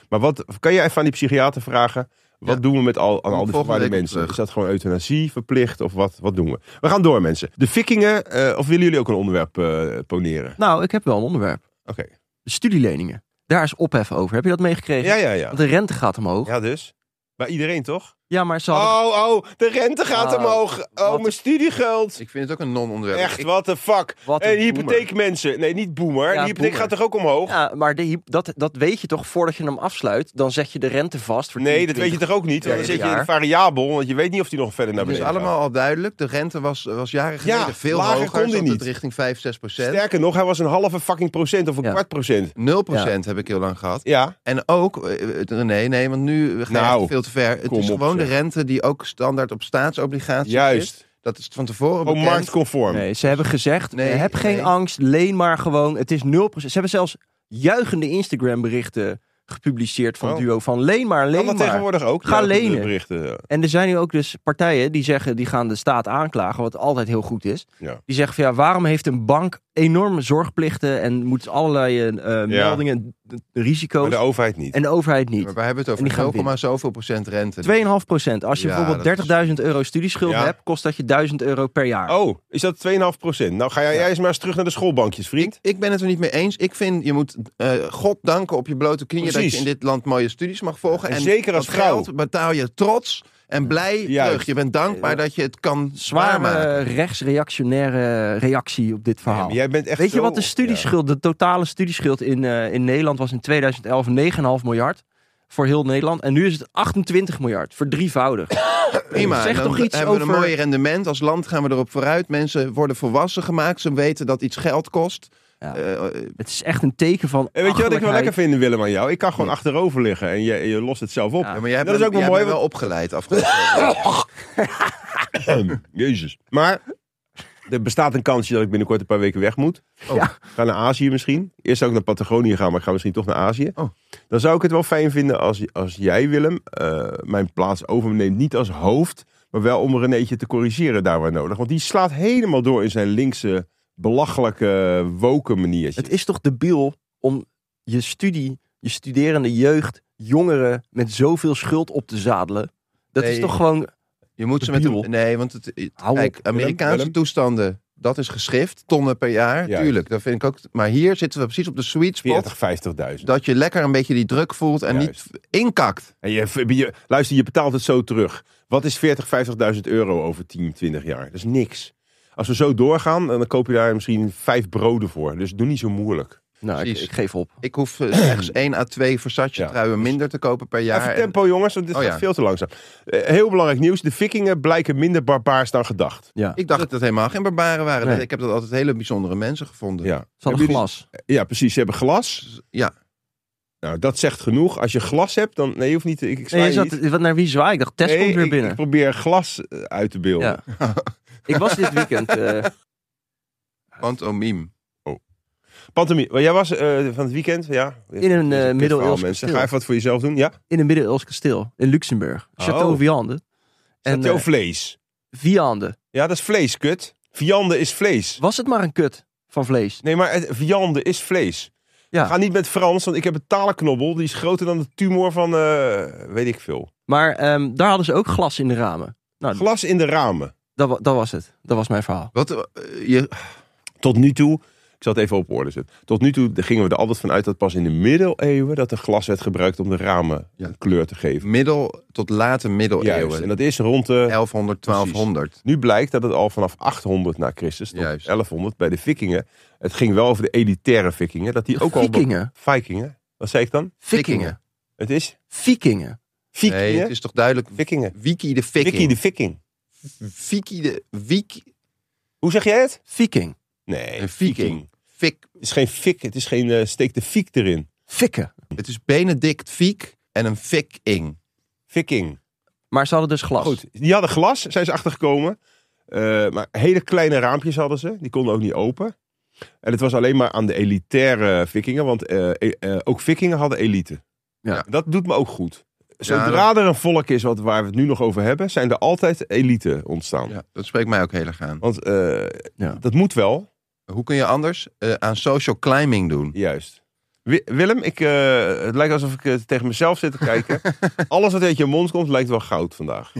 S2: Maar wat kan je even aan die psychiater vragen? Wat
S3: Ja.
S2: doen we met al, aan
S3: Kom
S2: al die
S3: volgende
S2: verwaarde
S3: week op
S2: mensen?
S3: terug.
S2: Is dat gewoon euthanasie verplicht of wat, wat doen we? We gaan door, mensen. De vikingen, eh, of willen jullie ook een onderwerp eh, poneren?
S4: Nou, ik heb wel een onderwerp.
S2: Oké.
S4: De studieleningen. Daar is ophef over. Heb je dat meegekregen?
S2: Ja, ja, ja.
S4: Want de rente gaat omhoog. Ja,
S2: Ja, dus? Bij iedereen toch?
S4: maar ze hadden...
S2: Oh, oh, de rente gaat
S4: Oh,
S2: omhoog. Oh,
S4: wat-
S2: mijn studiegeld.
S3: Ik vind het ook een non-onderwerp.
S2: Echt,
S3: Ik-
S2: what the fuck.
S4: Wat een
S2: en
S4: boomer.
S2: hypotheek, mensen. Eh, Nee, niet boomer.
S4: Ja,
S2: die hypotheek
S4: boomer.
S2: gaat toch ook omhoog?
S4: Ja, maar die, dat, dat weet je toch voordat je hem afsluit? Dan zet je de rente vast voor
S2: Nee,
S4: 10,
S2: dat weet je
S4: 20.
S2: toch ook niet? Want dan
S4: Ja,
S2: zit je
S4: ja.
S2: in een variabel, want je weet niet of die nog verder naar
S3: Het is
S2: beneden
S3: allemaal al duidelijk. De rente was, was jaren
S2: Ja,
S3: geleden veel
S2: lager
S3: hoger.
S2: kon die
S3: zat het
S2: niet.
S3: richting 5, 6
S2: gaat.
S3: procent.
S2: Sterker nog, hij was een halve fucking procent of een
S4: Ja.
S2: kwart procent.
S3: 0 procent heb ik heel lang gehad.
S2: Ja,
S3: En ook, eh, eh, nee, nee, want nu ga je
S2: Nou,
S3: echt veel te ver. Het
S2: kom
S3: is
S2: op,
S3: gewoon
S2: zeg.
S3: de rente die ook standaard op staatsobligaties is.
S2: juist.
S3: Dat is van tevoren
S2: Ook
S3: bekend.
S2: marktconform.
S4: Nee, ze hebben gezegd,
S3: Nee,
S4: eh, heb geen
S3: nee.
S4: angst, leen maar gewoon. Het is 0%. Ze hebben zelfs juichende Instagram berichten gepubliceerd van
S2: Oh.
S4: Duo. Van leen maar, leen
S2: Kan dat
S4: maar.
S2: tegenwoordig ook?
S4: Ga
S2: Ja,
S4: lenen.
S2: Berichten.
S4: En er zijn nu ook dus partijen die zeggen, die gaan de staat aanklagen, wat altijd heel goed is.
S2: Ja.
S4: Die zeggen van ja, waarom heeft een bank enorme zorgplichten en moet allerlei eh, meldingen, d- risico's.
S2: Maar de overheid niet.
S4: en de overheid niet.
S3: Maar wij hebben het
S4: En die gaan
S3: over 0, zoveel procent rente.
S4: 2,5 procent. Als je
S3: Ja, dat is-
S4: bijvoorbeeld 30.000 euro studieschuld
S2: Ja.
S4: hebt, kost dat je 1000 euro per jaar.
S2: Oh, is dat 2,5 procent? Nou, ga jij, jij eens maar eens terug naar de schoolbankjes, vriend.
S3: Ik ben het er niet mee eens. Ik vind, je moet eh, God danken op je blote knieën dat
S2: Precies.
S3: je in dit land mooie studies mag volgen.
S2: En zeker als
S3: dat
S2: vrouw.
S3: geld betaal je trots en blij
S2: Juist. Eh,
S3: terug. Je bent dankbaar dat je het kan zwaar maken.
S4: Zware rechtsreactionaire reactie op dit verhaal.
S2: Maar jij bent echt
S4: Weet je
S2: zo-
S4: wat de studieschuld, de totale studieschuld in, eh, in Nederland was in 2011 9,5 miljard voor heel Nederland. En nu is het 28 miljard, verdrievoudig.
S3: Prima.
S4: Zeg
S3: En dan
S4: toch iets
S3: hebben we
S4: over-
S3: een mooi rendement. Als land gaan we erop vooruit. Mensen worden volwassen gemaakt. Ze weten dat iets geld kost.
S4: Ja.
S3: Eh, eh,
S4: Het is echt een teken van
S2: En weet je wat ik wel
S4: achterlijkheid.
S2: lekker vind, Willem, aan jou? Ik kan gewoon achterover liggen en je, je lost het zelf op.
S4: Ja.
S3: ja, maar jij hebt
S2: dat is ook wel
S3: jij
S2: mooi,
S3: bent wel opgeleid afgelopen jaar.
S2: Jezus. Maar er bestaat een kansje dat ik binnenkort een paar weken weg moet.
S4: Ja.
S2: Ik Ga naar Azië misschien. Eerst zou ik naar Patagonië gaan, maar ik ga misschien toch naar Azië.
S3: Oh.
S2: Dan zou ik het wel fijn vinden als, als jij, Willem, eh, mijn plaats overneemt. Niet als hoofd, maar wel om Renéetje te corrigeren daar waar nodig. Want die slaat helemaal door in zijn linkse, belachelijke, woken maniertje.
S4: Het is toch debiel om je studie, je studerende jeugd, jongeren met zoveel schuld op te zadelen. Dat
S3: Nee.
S4: is toch gewoon
S3: Je moet ze met
S4: Debiel.
S3: een... Nee, want het, het-
S4: Hou op,
S3: kijk,
S2: Willem,
S3: Amerikaanse
S2: Willem.
S3: toestanden, dat is geschift. Tonnen per jaar,
S2: Juist.
S3: tuurlijk. Dat vind ik ook. Maar hier zitten we precies op de sweet spot.
S2: 40, 50.000.
S3: Dat je lekker een beetje die druk voelt en
S2: Juist.
S3: niet inkakt.
S2: En je, je- luister, je betaalt het zo terug. Wat is 40, 50.000 euro over 10, 20 jaar? Dat is niks. Als we zo doorgaan, dan koop je daar misschien vijf broden voor. Dus doe niet zo moeilijk.
S4: Nou, ik,
S3: Precies.
S4: ik geef op.
S3: Ik hoef eh, slechts 1 à 2 Versace
S2: Ja. dus
S3: truien minder te kopen per jaar.
S2: Even
S3: En-
S2: tempo, jongens, want dit
S3: Oh,
S2: gaat
S3: ja.
S2: veel te langzaam. Eh, heel belangrijk nieuws. De vikingen blijken minder barbaars dan gedacht.
S4: Ja.
S3: ik dacht dat het helemaal geen barbaren waren.
S4: Nee.
S3: Ik heb dat altijd hele bijzondere mensen gevonden.
S2: Ja.
S4: Ze hadden
S2: Hebben
S4: glas.
S2: jullie- ja, precies. Ze hebben glas.
S3: Ja.
S2: Nou, dat zegt genoeg. Als je glas hebt, dan... Nee, je hoeft niet... Ik, ik
S4: Nee,
S2: sla
S4: je
S2: je
S4: zat,
S2: niet.
S4: wat naar wie zwaai? Ik dacht, Tess
S2: Nee,
S4: komt weer
S2: ik-
S4: binnen.
S2: Ik probeer glas eh, uit te beelden.
S4: ja. ik was dit weekend. eh,
S3: Pantomime.
S2: Pantomime. Maar Jij was eh, van het weekend, ja?
S4: In een,
S2: Dit is
S4: eh,
S2: kut
S4: middeleeuws
S2: verhaal, mensen.
S4: kasteel.
S2: Ga even wat voor jezelf doen, ja?
S4: in een middeleeuws kasteel in Luxemburg. Château
S2: Oh.
S4: Viande. En
S2: Château
S4: eh,
S2: vlees.
S4: Viande.
S2: Ja, dat is vlees, kut. Viande is vlees.
S4: Was het maar een kut van vlees?
S2: Nee, maar het, viande is vlees.
S4: Ja.
S2: Ga niet met Frans, want ik heb een talenknobbel. Die is groter dan de tumor van, eh, weet ik veel.
S4: Maar ehm, daar hadden ze ook glas in de ramen. Nou,
S2: Glas in de ramen.
S4: dat, wa- dat was het. Dat was mijn verhaal.
S3: Wat, eh, je,
S2: Tot nu toe, ik zal het even op orde zetten. Tot nu toe gingen we er altijd van uit dat pas in de middeleeuwen... dat er glas werd gebruikt om de ramen
S3: Ja.
S2: een kleur te geven.
S3: middel tot late
S2: Juist. En
S3: middeleeuwen.
S2: dat eh, is rond de...
S3: 1100, 1200.
S2: Nu blijkt dat het al vanaf 800 na Christus tot
S3: Juist.
S2: 1100 bij de vikingen... het ging wel over de elitaire vikingen, dat die
S4: De
S2: ook al...
S4: Vikingen.
S2: Vikingen. Wat zei ik dan?
S4: Vikingen.
S2: Het is
S4: Vikingen.
S2: Vikingen.
S3: Nee, het is toch duidelijk.
S2: Vikingen.
S3: Wiki de Viking.
S2: Wiki de Viking.
S3: Wiki de... Wiki...
S2: Hoe zeg jij het?
S4: Viking.
S2: Nee,
S3: Een Viking. Fik.
S2: Het is geen fik, het is geen eh, steek de fiek erin.
S4: Fikken.
S3: Het is Benedict Fiek en een Viking.
S2: Viking.
S4: Maar ze hadden dus glas.
S2: Goed, die hadden glas, zijn ze achtergekomen. Eh, maar hele kleine raampjes hadden ze, die konden ook niet open. En het was alleen maar aan de elitaire vikingen, want eh, eh, eh, ook vikingen hadden elite.
S4: Ja.
S2: Dat doet me ook goed. Zodra
S3: Ja,
S2: er een volk is wat, waar we het nu nog over hebben, zijn er altijd elite ontstaan.
S3: Ja, dat spreekt mij ook heel erg aan.
S2: Want eh,
S4: Ja.
S2: dat moet wel.
S3: Hoe kun je anders eh, aan social climbing doen?
S2: Juist. Wi- Willem, ik, eh, het lijkt alsof ik eh, tegen mezelf zit te kijken. Alles wat uit je mond komt, lijkt wel goud vandaag.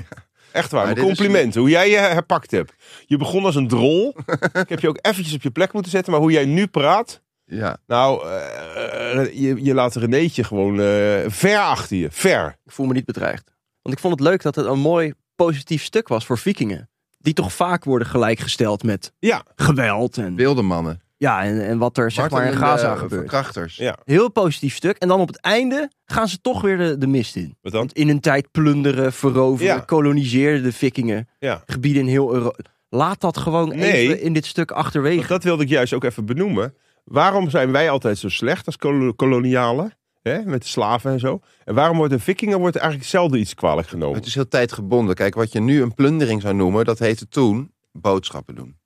S2: Echt waar,
S3: Maar
S2: mijn
S3: dit is-
S2: complimenten. Hoe jij je herpakt hebt. Je begon als een drol. ik heb je ook eventjes op je plek moeten zetten. Maar hoe jij nu praat,
S3: Ja,
S2: nou, eh, je, je laat Renéetje gewoon eh, ver achter je. Ver.
S4: Ik voel me niet bedreigd. Want ik vond het leuk dat het een mooi positief stuk was voor vikingen. Die toch vaak worden gelijkgesteld met
S2: Ja.
S4: geweld. En,
S3: wilde mannen.
S4: ja, en, en wat er zeg maar in
S3: Martelende,
S4: Gaza
S3: eh,
S4: gebeurt.
S3: Verkrachters.
S2: Ja.
S4: Heel positief stuk. En dan op het einde gaan ze toch weer de, de mist in.
S2: Wat dan?
S4: Want in hun tijd plunderen, veroveren,
S2: Ja.
S4: koloniseerden de vikingen.
S2: Ja.
S4: Gebieden in heel Europa. Laat dat gewoon
S2: Nee.
S4: even in dit stuk achterwege.
S2: Want dat wilde ik juist ook even benoemen. Waarom zijn wij altijd zo slecht als kolo- kolonialen? Hè, met de slaven en zo. En waarom wordt de vikingen wordt eigenlijk zelden iets kwalijk genomen?
S3: Het is heel tijdgebonden. Kijk, wat je nu een plundering zou noemen, dat heette toen boodschappen doen.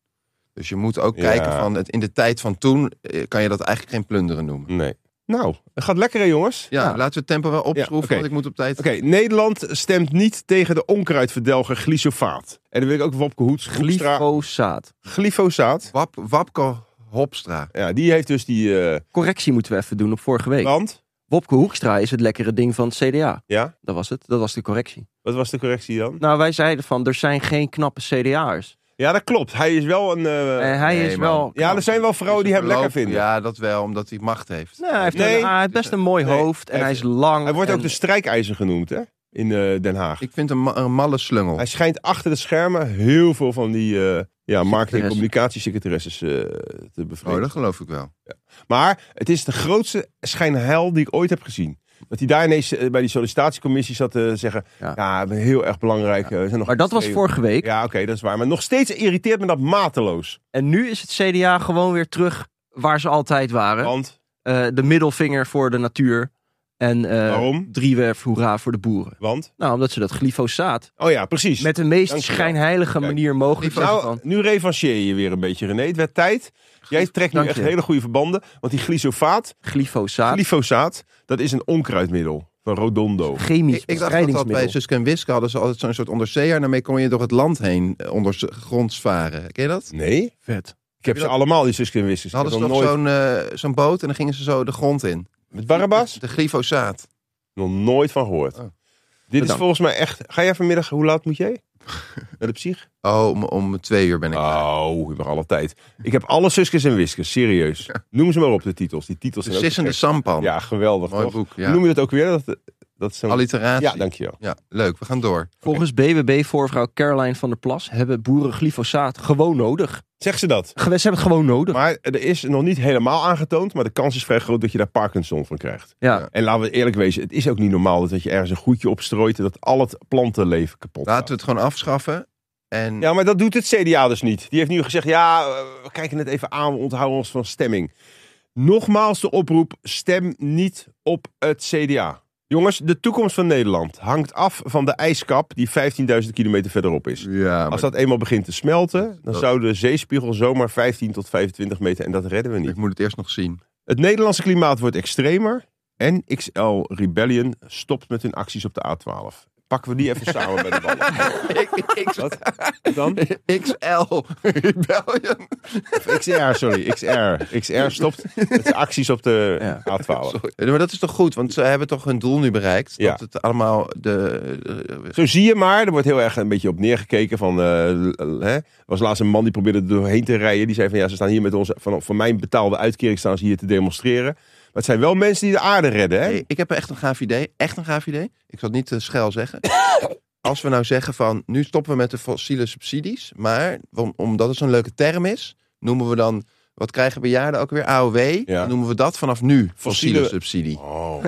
S3: Dus je moet ook
S2: Ja.
S3: kijken van, het, in de tijd van toen eh, kan je dat eigenlijk geen plunderen noemen.
S2: Nee. Nou, het gaat lekker hè, jongens?
S3: Ja, laten we het tempo wel opschroeven,
S2: Ja, oké.
S3: want ik moet op tijd...
S2: Oké, Nederland stemt niet tegen de onkruidverdelger glyfosaat. En dan wil ik ook Wopke Hoekstra...
S4: Glyfosaat.
S2: Glyfosaat?
S3: Wap, wapko Hopstra.
S2: Ja, die heeft dus die eh
S4: Correctie moeten we even doen op vorige week.
S2: land.
S4: Wopke Hoekstra is het lekkere ding van het CDA.
S2: Ja,
S4: Dat was het. Dat was de correctie.
S2: wat was de correctie dan?
S4: Nou, wij zeiden van, er zijn geen knappe CDA'ers.
S2: Ja, dat klopt. Hij is wel een... eh,
S4: en hij
S3: nee,
S4: is
S3: man.
S4: wel...
S2: ja, er zijn wel vrouwen die hem
S3: Verloop-
S2: lekker vinden. Nou.
S3: Ja, dat wel, omdat hij macht heeft.
S4: Nee, hij heeft,
S2: Nee.
S4: een- hij heeft best een mooi
S2: Nee.
S4: hoofd en
S2: Hij-
S4: hij is lang.
S2: Hij wordt
S4: en-
S2: ook de strijkijzer genoemd, hè? In eh, Den Haag.
S3: Ik vind hem ma- een malle slungel.
S2: Hij schijnt achter de schermen heel veel van die eh, ja, marketing- en
S4: Secretaresses.
S2: communicatiesecretaresses eh, te
S3: Oh,
S2: bevredigen.
S3: dat geloof ik wel.
S2: Maar het is de grootste schijnheil die ik ooit heb gezien. Dat hij daar ineens eh, bij die sollicitatiecommissie zat te zeggen... Ja,
S4: Ja.
S2: we zijn heel erg belangrijk. eh, we zijn nog
S4: Maar dat was
S2: twee-
S4: vorige week.
S2: Ja, oké, dat is waar. Maar nog steeds irriteert me dat mateloos.
S4: En nu is het CDA gewoon weer terug waar ze altijd waren.
S2: Want,
S4: Eh, de middelvinger voor de natuur. En eh
S2: waarom?
S4: driewerf hoera voor de boeren.
S2: Want?
S4: Nou, omdat ze dat glyfosaat
S2: Oh ja, precies.
S4: met de meest
S2: Dankjewel.
S4: schijnheilige
S2: Kijk,
S4: manier mogelijk
S2: nou,
S4: van.
S2: nu revancheer je weer een beetje, René. Het werd tijd. Jij trekt nu
S4: Dank
S2: echt
S4: je.
S2: hele goede verbanden. Want die glyfosaat,
S4: Glyfosaat,
S2: glyfosaat, dat is een onkruidmiddel van Rodondo.
S4: chemisch
S3: Ik, ik dacht dat, dat bij
S4: bestrijdingsmiddel.
S3: Suske en Wiske hadden ze altijd zo'n soort onderzeeër. Daarmee kon je door het land heen eh, onder gronds varen. Ken je dat?
S2: Nee?
S4: Vet.
S2: Ik heb ze allemaal, die Suske en Wiske. Ik
S3: Dan hadden ze
S2: heb
S3: toch
S2: nog nooit...
S3: zo'n eh, zo'n boot en dan gingen ze zo de grond in.
S2: Met Barabbas?
S3: De glyfosaat.
S2: Nog nooit van gehoord.
S3: Oh.
S2: Dit is
S4: Bedankt.
S2: volgens mij echt... Ga jij vanmiddag, hoe laat moet jij? Naar de psych?
S3: Oh, om, om twee uur ben ik klaar.
S2: Oh, ik heb alle tijd. Ik heb alle Suskes en Wiskes, serieus. Noem ze maar op, de titels. Die titels
S3: De
S2: zijn ook te
S3: sissende
S2: gek.
S3: sampan.
S2: Ja, geweldig.
S3: Mooi
S2: toch?
S3: boek, ja.
S2: Hoe noem je dat ook weer? Dat, dat is zo'n-
S3: Alliteratie.
S2: Ja,
S3: Ja,
S2: dankjewel.
S3: leuk. We gaan door.
S4: Volgens BBB-voorvrouw Caroline van der Plas hebben boeren glyfosaat gewoon nodig.
S2: Zeg ze dat.
S4: Ge- Ze hebben het gewoon nodig.
S2: Maar er is nog niet helemaal aangetoond, maar de kans is vrij groot dat je daar Parkinson van krijgt.
S4: ja.
S2: En laten we eerlijk wezen, het is ook niet normaal dat- dat je ergens een goedje opstrooit en dat al het plantenleven kapot gaat.
S3: Laten we het gewoon afschaffen. En
S2: Ja, maar dat doet het CDA dus niet. Die heeft nu gezegd, ja, eh, we kijken het even aan, we onthouden ons van stemming. Nogmaals de oproep, stem niet op het CDA. Jongens, de toekomst van Nederland hangt af van de ijskap die 15.000 kilometer verderop is.
S3: Ja, maar
S2: Als dat eenmaal begint te smelten, dan
S3: Dat-
S2: zou de zeespiegel zomaar 15 tot 25 meter en dat redden we niet.
S3: ik moet het eerst nog zien.
S2: Het Nederlandse klimaat wordt extremer en XL Rebellion stopt met hun acties op de A12. Pakken we die even samen bij de ballen.
S3: ik, ik,
S2: Wat? Dan?
S3: XL Rebellion.
S2: XR, sorry. XR. XR stopt met zijn acties op de
S4: Ja.
S2: A12.
S3: Sorry. Maar dat is toch goed, want ze hebben toch hun doel nu bereikt.
S2: Ja.
S3: Dat het allemaal de...
S2: Zo zie je maar, er wordt heel erg een beetje op neergekeken van... eh, l- hè. Er was laatst een man die probeerde er doorheen te rijden. Die zei van ja, ze staan hier met onze... Van, van mijn betaalde uitkering staan ze hier te demonstreren. Maar het zijn wel mensen die de aarde redden, hè?
S3: Hey, ik heb echt een gaaf idee. Echt een gaaf idee. Ik zal het niet te schel zeggen. Als we nou zeggen van, nu stoppen we met de fossiele subsidies. Maar om- omdat het zo'n leuke term is, noemen we dan... Wat krijgen bejaarden ook weer? AOW. Dan noemen we dat vanaf nu fossiele,
S2: Fossiele-
S3: subsidie.
S2: Oh,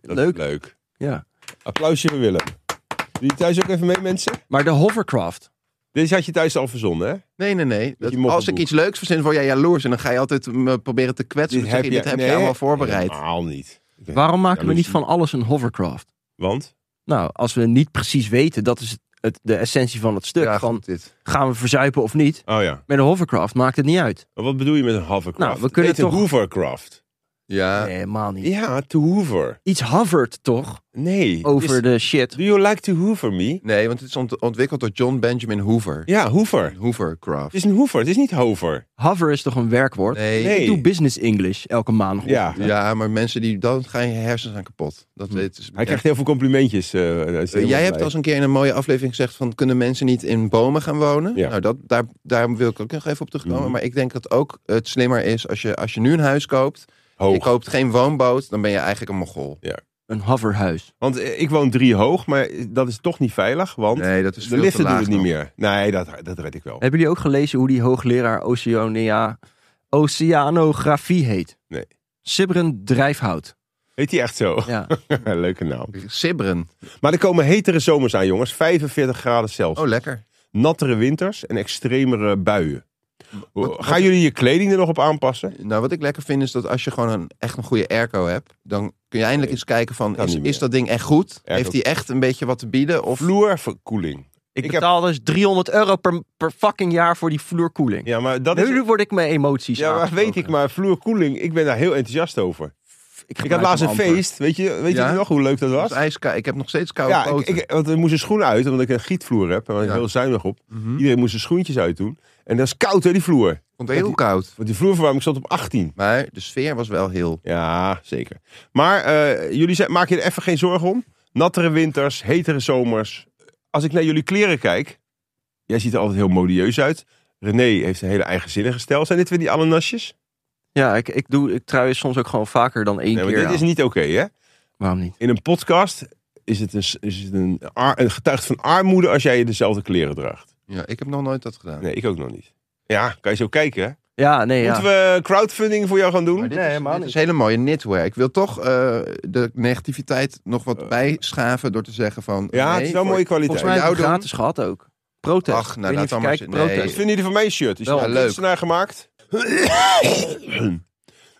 S2: dat
S4: Leuk.
S2: Is leuk.
S4: Ja.
S2: Applausje voor Willem. Doe je thuis ook even mee, mensen?
S4: Maar de hovercraft.
S2: Deze had je thuis al verzonnen, hè?
S3: Nee, nee, nee. Dat-
S2: moppenboek.
S3: als ik iets leuks verzin, word jij jaloers. En dan ga je altijd eh, me proberen te kwetsen. Dit heb je, dit heb je allemaal voorbereid.
S2: Helemaal niet.
S4: Waarom maken we
S2: Jaloezie.
S4: niet van alles een hovercraft?
S2: Want?
S4: Nou, als we niet precies weten, dat is het, het- de essentie van het stuk.
S3: Ja,
S4: van,
S3: goed, dit.
S4: gaan we verzuipen of niet?
S2: Oh ja.
S4: Met een hovercraft maakt het niet uit.
S2: Maar wat bedoel je met een hovercraft?
S4: Nou, we kunnen
S2: Het heet een
S4: toch-
S2: hovercraft.
S3: Ja.
S4: Nee, helemaal niet.
S2: Ja, to hover.
S4: Iets hovert toch
S2: Nee.
S4: over
S2: Is-
S4: de shit.
S2: Do you like to hoover me?
S3: Nee, want het is ont- ontwikkeld door John Benjamin Hoover.
S2: Ja, hoover.
S3: Hoovercraft.
S2: Het is een hoover, het is niet hover.
S4: Hover is toch een werkwoord?
S3: Nee.
S2: Nee.
S4: Ik doe business English elke maandag.
S2: Ja.
S3: Ja, maar mensen die dan gaan je hersens aan kapot. Dat weet
S2: Hm. Hij krijgt heel veel complimentjes. eh, hij is
S3: Jij
S2: helemaal
S3: hebt
S2: blij.
S3: als een keer in een mooie aflevering gezegd van kunnen mensen niet in bomen gaan wonen?
S2: Ja.
S3: Nou, dat, daar, daar wil ik ook nog even op terugkomen.
S2: Mhm.
S3: Maar ik denk dat ook het slimmer is als je, als je nu een huis koopt. Je
S2: Hoog.
S3: koopt geen woonboot, dan ben je eigenlijk een mogol.
S4: Een hoverhuis.
S2: Want eh, ik woon drie hoog, maar eh, dat is toch niet veilig, want
S3: Nee, dat is
S2: de
S3: veel
S2: liften
S3: te
S2: doen
S3: laag
S2: het niet
S3: nog.
S2: meer. Nee, dat, dat red ik wel.
S4: Hebben jullie ook gelezen hoe die hoogleraar Oceania, oceanografie heet?
S2: Nee.
S4: Sibren Drijfhout.
S2: Heet hij echt zo?
S4: Ja.
S2: Leuke naam.
S3: Sibberen.
S2: Maar er komen hetere zomers aan, jongens. 45 graden Celsius.
S3: Oh, lekker.
S2: Nattere winters en extremere buien. Gaan jullie je kleding er nog op aanpassen?
S3: Nou, wat ik lekker vind is dat als je gewoon een, echt een goede airco hebt, dan kun je eindelijk eens kijken van,
S2: Kan
S3: is,
S2: niet meer.
S3: is dat ding echt goed?
S2: Airco.
S3: Heeft die echt een beetje wat te bieden? Of
S2: Vloerverkoeling.
S4: Ik,
S2: Ik heb-
S4: betaal dus 300 euro per, per fucking jaar voor die vloerkoeling.
S2: Ja, maar dat
S4: nu
S2: is...
S4: word ik mijn emoties
S2: Ja, maar
S4: aangesproken.
S2: weet ik maar. Vloerkoeling, ik ben daar heel enthousiast over. Ik had laatst een feest. Weet je, weet
S3: Ja?
S2: je nog hoe leuk dat was?
S3: was ijskoud. Ik heb nog steeds koude
S2: Ja, ik,
S3: poten.
S2: ik, want er moest een schoen uit, omdat ik een gietvloer heb. En was
S3: Ja.
S2: heel zuinig op. Iedereen moest zijn schoentjes uitdoen. En dat is koud, hè, die vloer.
S3: vond het heel koud.
S2: Want die vloerverwarming stond op 18.
S3: Maar de sfeer was wel heel...
S2: Ja, zeker. Maar eh, jullie zijn, maak je er even geen zorgen om. Nattere winters, hetere zomers. Als ik naar jullie kleren kijk. Jij ziet er altijd heel modieus uit. René heeft een hele eigenzinnige stijl. Zijn dit weer die ananasjes?
S4: Ja, ik, ik doe ik trui soms ook gewoon vaker dan één
S2: Nee, maar
S4: keer.
S2: dit is
S4: aan.
S2: niet oké, hè?
S4: Waarom niet?
S2: In een podcast is het, een, s- is het een, ar- een getuigt van armoede als jij dezelfde kleren draagt.
S3: Ja, ik heb nog nooit dat gedaan.
S2: Nee, ik ook nog niet. Ja, kan je zo kijken, hè?
S4: Ja, nee, ja.
S2: Moeten we crowdfunding voor jou gaan doen?
S3: Maar dit
S4: Nee,
S3: is,
S4: helemaal
S3: dit
S4: niet.
S3: is hele mooie knitwear. Ik wil toch eh, de negativiteit nog wat bijschaven door te zeggen van...
S2: Eh. ja, het is
S3: nee,
S2: wel
S3: voor-
S2: mooie kwaliteit.
S4: Volgens mij hebben we
S3: Jou
S4: gratis gehad ook. Protest.
S3: Ach, nou,
S4: Ik weet
S3: laat
S4: niet of je
S3: dan maar
S4: kijkt,
S3: zitten. Nee.
S2: Wat
S4: protest.
S2: vinden jullie van mijn shirt? Is
S4: Wel
S2: wel
S3: leuk.
S2: leuk. naar gemaakt?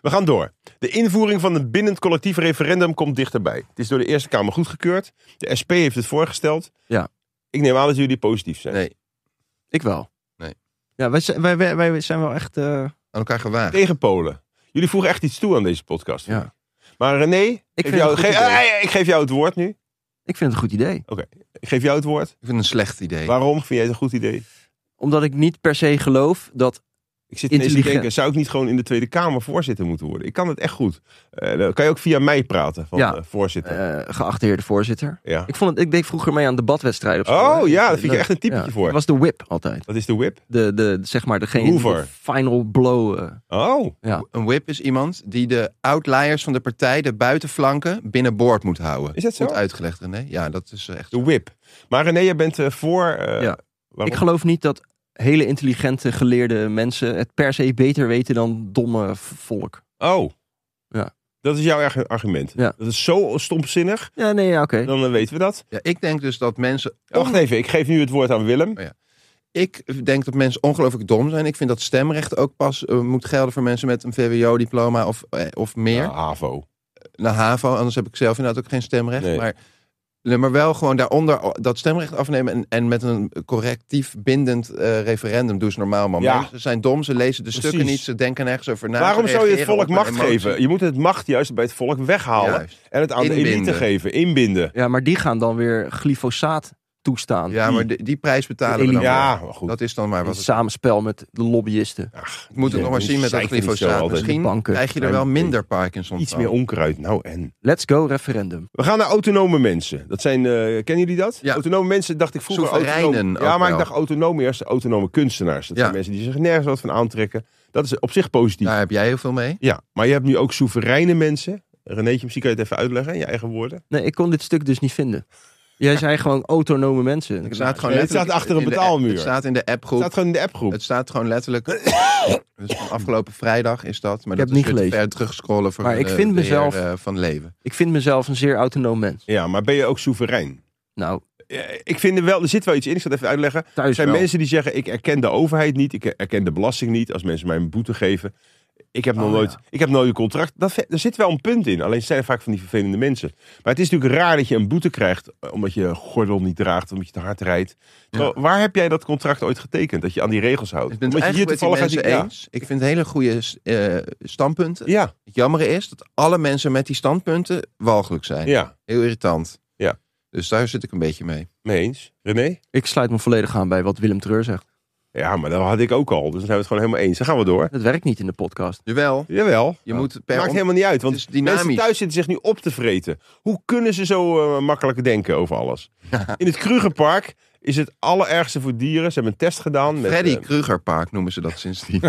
S2: We gaan door. De invoering van een bindend collectief referendum komt dichterbij. Het is door de Eerste Kamer goedgekeurd. De SP heeft het voorgesteld.
S4: Ja.
S2: Ik neem aan dat jullie positief zijn.
S3: Nee,
S4: Ik wel.
S3: Nee.
S4: Ja, wij, zijn- wij, wij, wij zijn wel echt... eh,
S3: aan elkaar gewaagd.
S2: Tegen Polen. Jullie voegen echt iets toe aan deze podcast.
S4: Ja.
S2: vind ik. Maar René, ik,
S4: vind
S2: geef jou,
S4: het een goed
S2: ge-
S4: idee.
S2: Ah, ja, ik geef jou het woord nu.
S4: ik vind het een goed idee.
S2: Ik geef jou het woord.
S3: Ik vind het een slecht idee.
S2: Waarom vind jij het een goed idee?
S4: Omdat ik niet per se geloof dat...
S2: Ik zit ineens te
S4: Intelligent.
S2: denken, zou ik niet gewoon in de Tweede Kamer voorzitter moeten worden? Ik kan het echt goed. Eh, dan kan je ook via mij praten, van
S4: Ja.
S2: eh, voorzitter.
S4: eh geachte heer de voorzitter.
S2: ja.
S4: Ik, vond het, ik deed vroeger mee aan debatwedstrijden. op school, hè.
S2: Oh ja, dat
S4: Dat
S2: vind ik
S4: leuk.
S2: echt een typetje
S4: Ja.
S2: voor.
S4: Dat was de whip altijd.
S2: Wat is de whip?
S4: De, de, zeg maar, degene die
S2: Hoover.
S4: de final blow... eh,
S2: Oh,
S3: Een whip is iemand die de outliers van de partij, de buitenflanken, binnenboord moet houden.
S2: Is dat zo?
S3: Goed uitgelegd, René. Ja, dat is eh, echt
S2: de whip. Maar René, jij bent eh, voor... eh,
S4: Ja.
S2: waarom?
S4: Ik geloof niet dat hele intelligente, geleerde mensen het per se beter weten dan domme v- volk.
S2: Oh.
S4: Ja.
S2: Dat is jouw eigen argument.
S4: Ja.
S2: Dat is zo stompzinnig.
S4: Ja, nee, ja, oké.
S2: Dan eh, weten we dat.
S3: Ja, ik denk dus dat mensen.
S2: Wacht even, ik geef nu het woord aan Willem.
S3: Ik denk dat mensen ongelooflijk dom zijn. Ik vind dat stemrecht ook pas eh, moet gelden voor mensen met een VWO-diploma of, eh, of meer.
S2: Ja, Ah, HAVO.
S3: Naar HAVO, anders heb ik zelf inderdaad ook geen stemrecht.
S2: Nee.
S3: Maar, nee, maar wel gewoon daaronder o- dat stemrecht afnemen. En, en met een correctief bindend eh, referendum doen ze normaal. Man.
S2: Ja.
S3: Ze zijn dom, ze lezen de stukken
S2: Precies.
S3: niet, ze denken nergens over na.
S2: Waarom
S3: ze
S2: zou je het volk
S3: reageren Nou, op hun
S2: macht
S3: emotie.
S2: geven? Je moet het macht juist bij het volk weghalen.
S3: Juist.
S2: En het aan de elite
S3: Inbinden.
S2: geven. Inbinden.
S4: Ja, maar die gaan dan weer glyfosaat toestaan.
S3: Ja, maar die, die prijs betalen we
S4: Elite.
S3: dan. wel.
S2: Ja, maar goed.
S3: Dat is dan maar
S4: In
S3: wat het
S4: samenspel met de lobbyisten.
S2: Ach,
S3: Ik moet het
S2: nee,
S3: nog maar
S2: je
S3: zien met dat
S2: zeikt er niet zo
S3: glyfosaat.
S2: altijd.
S3: Misschien
S4: Banken.
S3: krijg je er wel minder Parkinson
S2: Iets
S3: van.
S2: meer onkruid. Nou en.
S4: Let's go referendum.
S2: We gaan naar autonome mensen. Dat zijn, eh, kennen jullie dat?
S3: Ja.
S2: Autonome mensen dacht ik vroeger.
S3: Soevereinen
S2: autonoom-
S3: ook
S2: ja, maar ik
S3: wel.
S2: dacht autonome eerst autonome kunstenaars. Dat
S3: Ja.
S2: zijn mensen die zich nergens wat van aantrekken. Dat is op zich positief.
S3: Daar heb jij heel veel mee.
S2: Ja, maar je hebt nu ook soevereine mensen. Renéetje, misschien kan je het even uitleggen in je eigen woorden.
S4: Nee, ik kon dit stuk dus niet vinden. Jij zei gewoon autonome mensen.
S3: Het staat gewoon
S2: Nee, het
S3: letterlijk
S2: staat achter een
S3: in de app-
S2: betaalmuur.
S3: Het staat in de
S2: Het
S3: appgroep.
S2: staat gewoon in de appgroep.
S3: Het staat gewoon letterlijk. dus van afgelopen vrijdag is dat. Maar
S4: Ik
S3: dat is
S4: heb niet
S3: weer te
S4: gelezen.
S3: ver terugscrollen voor
S4: Maar ik
S3: eh,
S4: vind
S3: de heer,
S4: mezelf-
S3: eh, van leven.
S4: Ik vind mezelf een zeer autonoom mens.
S2: Ja, maar ben je ook soeverein?
S4: Nou,
S2: Ja, Ik vind er wel, er zit wel iets in. Ik zal het even uitleggen. Er
S4: thuis
S2: zijn
S4: wel.
S2: mensen die zeggen: ik erken de overheid niet, ik erken de belasting niet. Als mensen mij een boete geven, ik heb nog
S4: Oh,
S2: nooit, ik heb nooit een contract. Dat, ve- er zit wel een punt in. Alleen zijn er vaak van die vervelende mensen. Maar het is natuurlijk raar dat je een boete krijgt eh, omdat je gordel niet draagt, omdat je te hard rijdt. Terwijl, Waar heb jij dat contract ooit getekend dat je aan die regels houdt?
S3: Ik ben het
S2: Omdat je
S3: eigenlijk met die
S2: uit
S3: mensen
S2: die- ja.
S3: eens. Ik vind hele goede eh, standpunten.
S2: Ja,
S3: Het jammer is dat alle mensen met die standpunten walgelijk zijn.
S2: ja,
S3: Heel irritant.
S2: Ja.
S3: Dus daar zit ik een beetje mee.
S2: mee eens. René?
S4: Ik sluit me volledig aan bij wat Willem Treur zegt.
S2: Ja, maar dat had ik ook al. Dus dan zijn we het gewoon helemaal eens. Dan gaan we door.
S4: Dat werkt niet in de podcast.
S3: Jawel.
S2: Jawel.
S3: Je moet per
S2: Oh. Maakt
S3: on-
S2: helemaal niet uit, want
S3: Het is dynamisch.
S2: mensen thuis zitten zich nu op te vreten. Hoe kunnen ze zo eh, makkelijk denken over alles? In het Krugerpark is het allerergste voor dieren. Ze hebben een test gedaan. Met,
S3: Freddy
S2: eh,
S3: Krugerpark noemen ze dat sindsdien.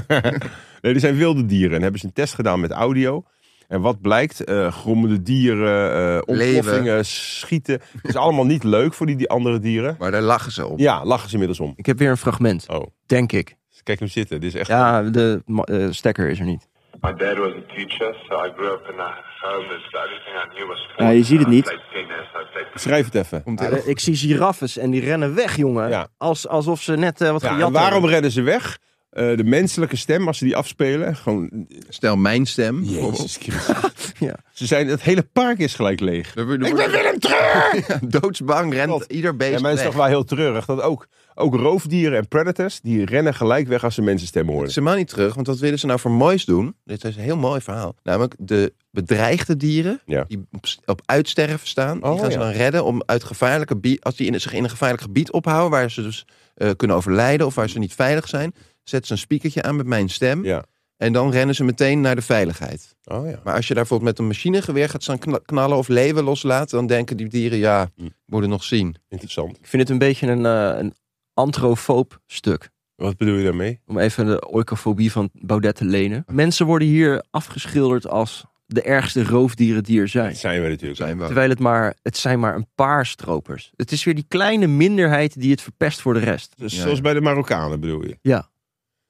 S2: nee, er zijn wilde dieren. En hebben ze een test gedaan met audio. En wat blijkt? Eh grommende dieren, eh ontploffingen, schieten. Het is allemaal niet leuk voor die, die andere dieren.
S3: maar daar lachen ze op.
S2: Ja, lachen ze inmiddels om.
S4: Ik heb weer een fragment,
S2: Oh,
S4: denk ik.
S2: kijk hem zitten. Dit is echt...
S4: Ja, de ma- eh, stekker is er niet.
S5: My dad was a teacher, so I grew up in a home that the only thing I knew was sports.
S4: Ja, je ziet het niet.
S5: I played tennis, I played
S2: Schrijf het even.
S3: Komt
S4: Eh, ik zie giraffes en die rennen weg, jongen.
S2: Ja.
S4: Als, alsof ze net eh, wat
S2: Ja, en
S4: gejat
S2: waarom
S4: hebben.
S2: redden ze weg? Eh, eh, de menselijke stem, als ze die afspelen, gewoon...
S3: Stel mijn stem.
S2: Jezus Christus.
S4: Ja.
S2: Ze zijn, het hele park is gelijk leeg.
S3: Er wordt- er
S2: Ik ben
S3: wordt-
S2: Willem Treur!
S3: Ja, doodsbang rent
S2: Klopt.
S3: ieder beest
S2: Ja, maar het is
S3: weg.
S2: toch wel heel treurig dat ook, ook roofdieren en predators, die rennen gelijk weg als ze mensenstemmen horen.
S3: Ze maar niet terug, want wat willen ze nou voor moois doen? Dit is een heel mooi verhaal. Namelijk de bedreigde dieren
S2: Ja.
S3: die op, op uitsterven staan.
S2: Oh,
S3: die gaan ze
S2: ja.
S3: dan redden om uit gevaarlijke gebied, als die in, zich in een gevaarlijk gebied ophouden, waar ze dus eh, kunnen overlijden of waar ze niet veilig zijn. Zet ze een spiekertje aan met mijn stem.
S2: Ja.
S3: En dan rennen ze meteen naar de veiligheid.
S2: Oh ja.
S3: Maar als je daar bijvoorbeeld met een machinegeweer gaat staan kna- knallen of leeuwen loslaat, dan denken die dieren, ja,
S2: Hm.
S3: moeten nog zien.
S2: Interessant.
S4: Ik vind het een beetje een, eh, een antrofoop stuk.
S2: Wat bedoel je daarmee?
S4: Om even de oikofobie van Baudet te lenen. Mensen worden hier afgeschilderd als de ergste roofdieren die er zijn.
S2: Dat zijn we natuurlijk.
S3: Zijn we. ook.
S4: Terwijl het maar, het zijn maar een paar stropers. Het is weer die kleine minderheid die het verpest voor de rest.
S2: Dus
S3: Ja,
S2: zoals
S3: ja.
S2: bij de Marokkanen bedoel je.
S4: Ja.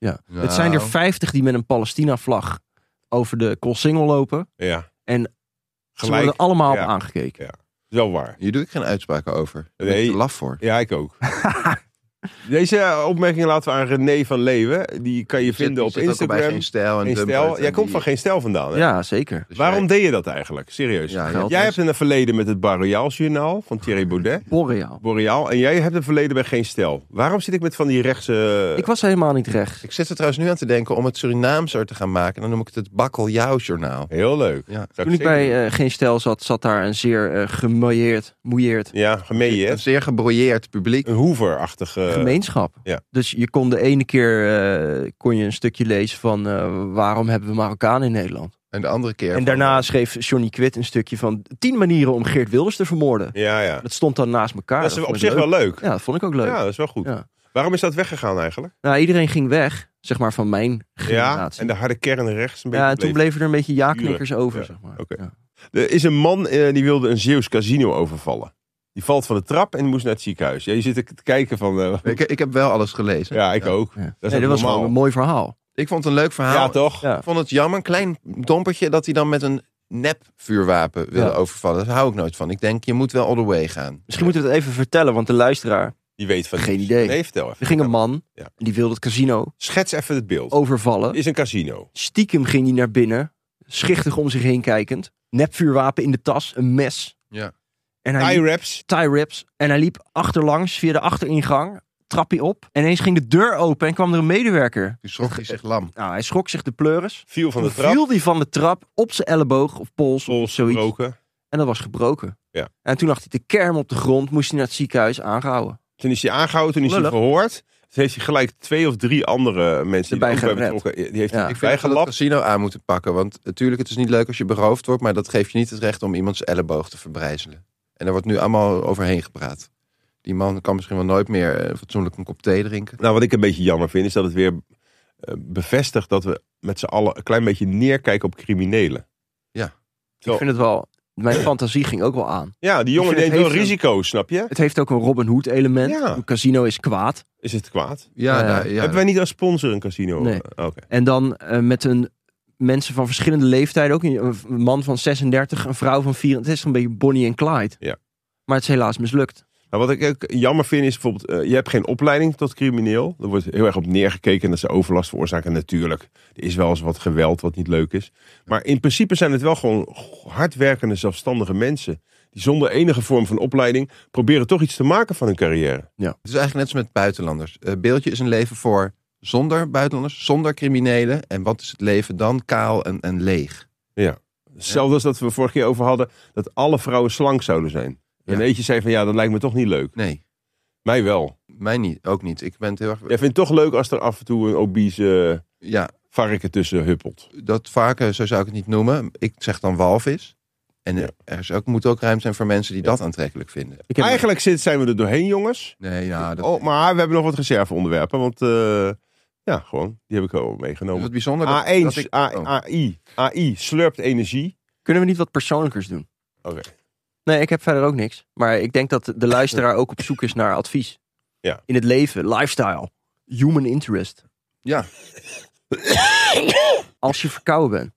S3: Nou.
S4: Het zijn er 50 die met een Palestina-vlag over de Koolsingel lopen.
S2: Ja.
S4: En Ze
S2: gelijk.
S4: worden allemaal
S2: ja.
S4: op aangekeken.
S2: is Wel waar.
S3: Hier doe ik geen uitspraken over. Daar ben ik
S2: Nee.
S3: te laf voor.
S2: Ja, ik ook. Deze opmerking laten we aan René van Leeuwen. Die kan je vinden op
S3: Die zit ook al bij
S2: Instagram.
S3: Geen stijl en
S2: Geen
S3: Dumpert
S2: stijl.
S3: en
S2: Jij komt
S3: die-
S2: van geen stijl vandaan.
S4: Ja,
S2: Hè?
S4: zeker.
S3: dus
S2: Waarom dus?
S3: jij-
S2: deed je dat eigenlijk? Serieus.
S3: Ja,
S4: geld.
S2: Jij hebt een verleden met het Boreaal Journaal van Thierry Baudet.
S4: Boreaal.
S2: Boreaal. En jij hebt een verleden bij geen stijl. Waarom zit ik met van die rechtse...
S4: Ik was helemaal niet rechts.
S3: Ik zit er trouwens nu aan te denken om het Surinaamser te gaan maken. Dan noem ik het het bakkeljauwjournaal.
S2: Heel leuk.
S3: Ja.
S2: Zou
S4: Toen ik
S2: zeker
S4: bij
S2: doen.
S4: eh, Geen Stijl zat, zat daar een zeer eh gemouilleerd, moeieerd
S2: Ja, gemeen, hè?
S3: Een zeer gebroeierd publiek.
S2: Een hoeverachtige...
S4: gemeenschap.
S2: Eh, ja.
S4: Dus je kon de ene keer eh, kon je een stukje lezen van eh, waarom hebben we Marokkanen in Nederland.
S3: En de andere keer.
S4: En
S3: van-
S2: eh,
S4: daarna schreef Johnny Quid een stukje van 10 manieren om Geert Wilders te vermoorden.
S2: Ja, ja.
S4: Dat stond dan naast elkaar.
S2: Dat is op
S4: vond ik
S2: zich
S4: leuk.
S2: wel leuk.
S4: Ja, dat vond ik ook leuk.
S2: Ja, dat is wel goed.
S4: Ja.
S2: Waarom is dat weggegaan eigenlijk?
S4: Nou, iedereen ging weg, zeg maar, van mijn
S2: Ja,
S4: generatie.
S2: en de harde kern rechts een beetje
S4: Ja, en toen
S2: bleef.
S4: bleven er een beetje ja-knikkers over,
S2: Ja,
S4: zeg maar.
S2: oké.
S4: Ja.
S2: Er is een man eh, die wilde een Zeeuws casino overvallen. Die valt van de trap en moest naar het ziekenhuis. Ja, je zit te kijken van... eh,
S3: Ik, ik heb wel alles gelezen.
S2: ja, ik ook.
S4: Ja.
S2: Dat is
S4: nee, dat was
S2: normaal.
S4: gewoon een mooi verhaal.
S3: Ik vond het een leuk verhaal.
S2: Ja, toch?
S4: Ja.
S3: Ik vond het jammer. Een klein dompertje dat hij dan met een nep vuurwapen wilde
S4: Ja.
S3: overvallen. Daar hou ik nooit van. Ik denk, je moet wel all the way gaan.
S4: Misschien moeten we het even vertellen, want de luisteraar...
S2: Die weet van...
S4: Geen idee.
S2: Nee, vertel even.
S4: Er ging een man, Oh.
S2: Ja.
S4: en die wilde het casino
S2: Schets even het beeld.
S4: overvallen.
S2: Het is een casino.
S4: Stiekem ging hij naar binnen, schichtig om zich heen kijkend. Nepvuurwapen in de tas, een mes.
S3: Ja.
S4: En hij liep,
S2: I-raps.
S4: tie rips. En hij liep achterlangs via de achteringang, trap hij op. En ineens ging de deur open en kwam er een medewerker.
S2: Dus-
S3: Toen schrok hij zich lam.
S4: Nou, hij schrok zich de pleuris.
S2: Viel van de
S4: Toen
S2: trap.
S4: viel hij van de trap op zijn elleboog of pols of
S2: Pols
S4: zoiets.
S2: gebroken.
S4: En dat was gebroken.
S2: Ja.
S4: En toen lag hij te kerm op de grond, moest hij naar het ziekenhuis aangehouden.
S2: Toen is hij aangehouden, toen is
S4: Lullig.
S2: hij verhoord. Toen heeft hij gelijk twee of drie andere mensen die
S4: Erbij
S2: er ook bij
S4: gered.
S2: betrokken. Die heeft
S4: Ja.
S2: hij
S3: Ik vind dat we het
S2: bijgelapt.
S3: casino aan moeten pakken. Want natuurlijk, het is niet leuk als je beroofd wordt. Maar dat geeft je niet het recht om iemands elleboog te verbrijzelen. En daar wordt nu allemaal overheen gepraat. Die man kan misschien wel nooit meer eh, fatsoenlijk een kop thee drinken.
S2: Nou, wat ik een beetje jammer vind, is dat het weer eh, bevestigt dat we met z'n allen een klein beetje neerkijken op criminelen. Zo.
S4: Ik vind het wel, mijn fantasie ging ook wel aan.
S2: Ja, die jongen
S4: vind
S2: neemt
S4: het
S2: wel
S4: heeft een-
S2: risico's, snap je?
S4: Het heeft ook een Robin Hood element.
S2: Ja.
S4: Een casino is kwaad.
S2: Is het kwaad?
S3: Ja,
S4: Ja,
S3: nou, ja.
S2: Hebben wij niet als sponsor een casino?
S4: Nee.
S2: Eh, Oké.
S4: En dan eh, met een mensen van verschillende leeftijden. Ook een een man van 36, een vrouw van 24. Het is een beetje Bonnie en Clyde.
S2: Ja.
S4: Maar het is helaas mislukt.
S2: Nou, wat ik ook jammer vind is bijvoorbeeld, eh, je hebt geen opleiding tot crimineel. Er wordt heel erg op neergekeken dat ze overlast veroorzaken. Natuurlijk, er is wel eens wat geweld wat niet leuk is. Maar in principe zijn het wel gewoon hardwerkende, zelfstandige mensen. Die zonder enige vorm van opleiding proberen toch iets te maken van hun carrière.
S3: Het is dus eigenlijk net als met buitenlanders. Eh, beeldje is een leven voor zonder buitenlanders, zonder criminelen. En wat is het leven dan? Kaal en, en leeg.
S2: Hetzelfde als dat we vorige keer over hadden, dat alle vrouwen slank zouden zijn.
S3: Ja.
S2: En eentje zei van ja, dat lijkt me toch niet leuk.
S3: Nee,
S2: Mij wel.
S3: mij niet, ook niet. Ik ben het heel erg...
S2: Jij vindt het toch leuk als er af en toe een obese eh,
S3: Ja,
S2: varken tussen huppelt.
S3: dat varken, zo zou ik het niet noemen. Ik zeg dan walvis. En eh,
S2: Ja.
S3: er is ook, moet ook ruimte zijn voor mensen die dat aantrekkelijk vinden.
S4: Ik heb
S2: Eigenlijk zit, zijn we er doorheen, jongens.
S3: Nee, ja, dat
S2: Oh, maar we hebben nog wat reserveonderwerpen. Want eh, ja, gewoon, die heb ik al
S3: is wat
S2: meegenomen.
S3: bijzonder. dat-
S2: A1,
S3: dat ik-
S2: A-
S3: oh.
S2: AI, AI slurpt energie.
S4: Kunnen we niet wat persoonlijkers doen?
S2: Oké.
S4: Nee, ik heb verder ook niks. Maar ik denk dat de luisteraar ook op zoek is naar advies.
S2: Ja.
S4: In het leven, lifestyle, human interest.
S3: Ja. Hmm.
S4: Als je verkouden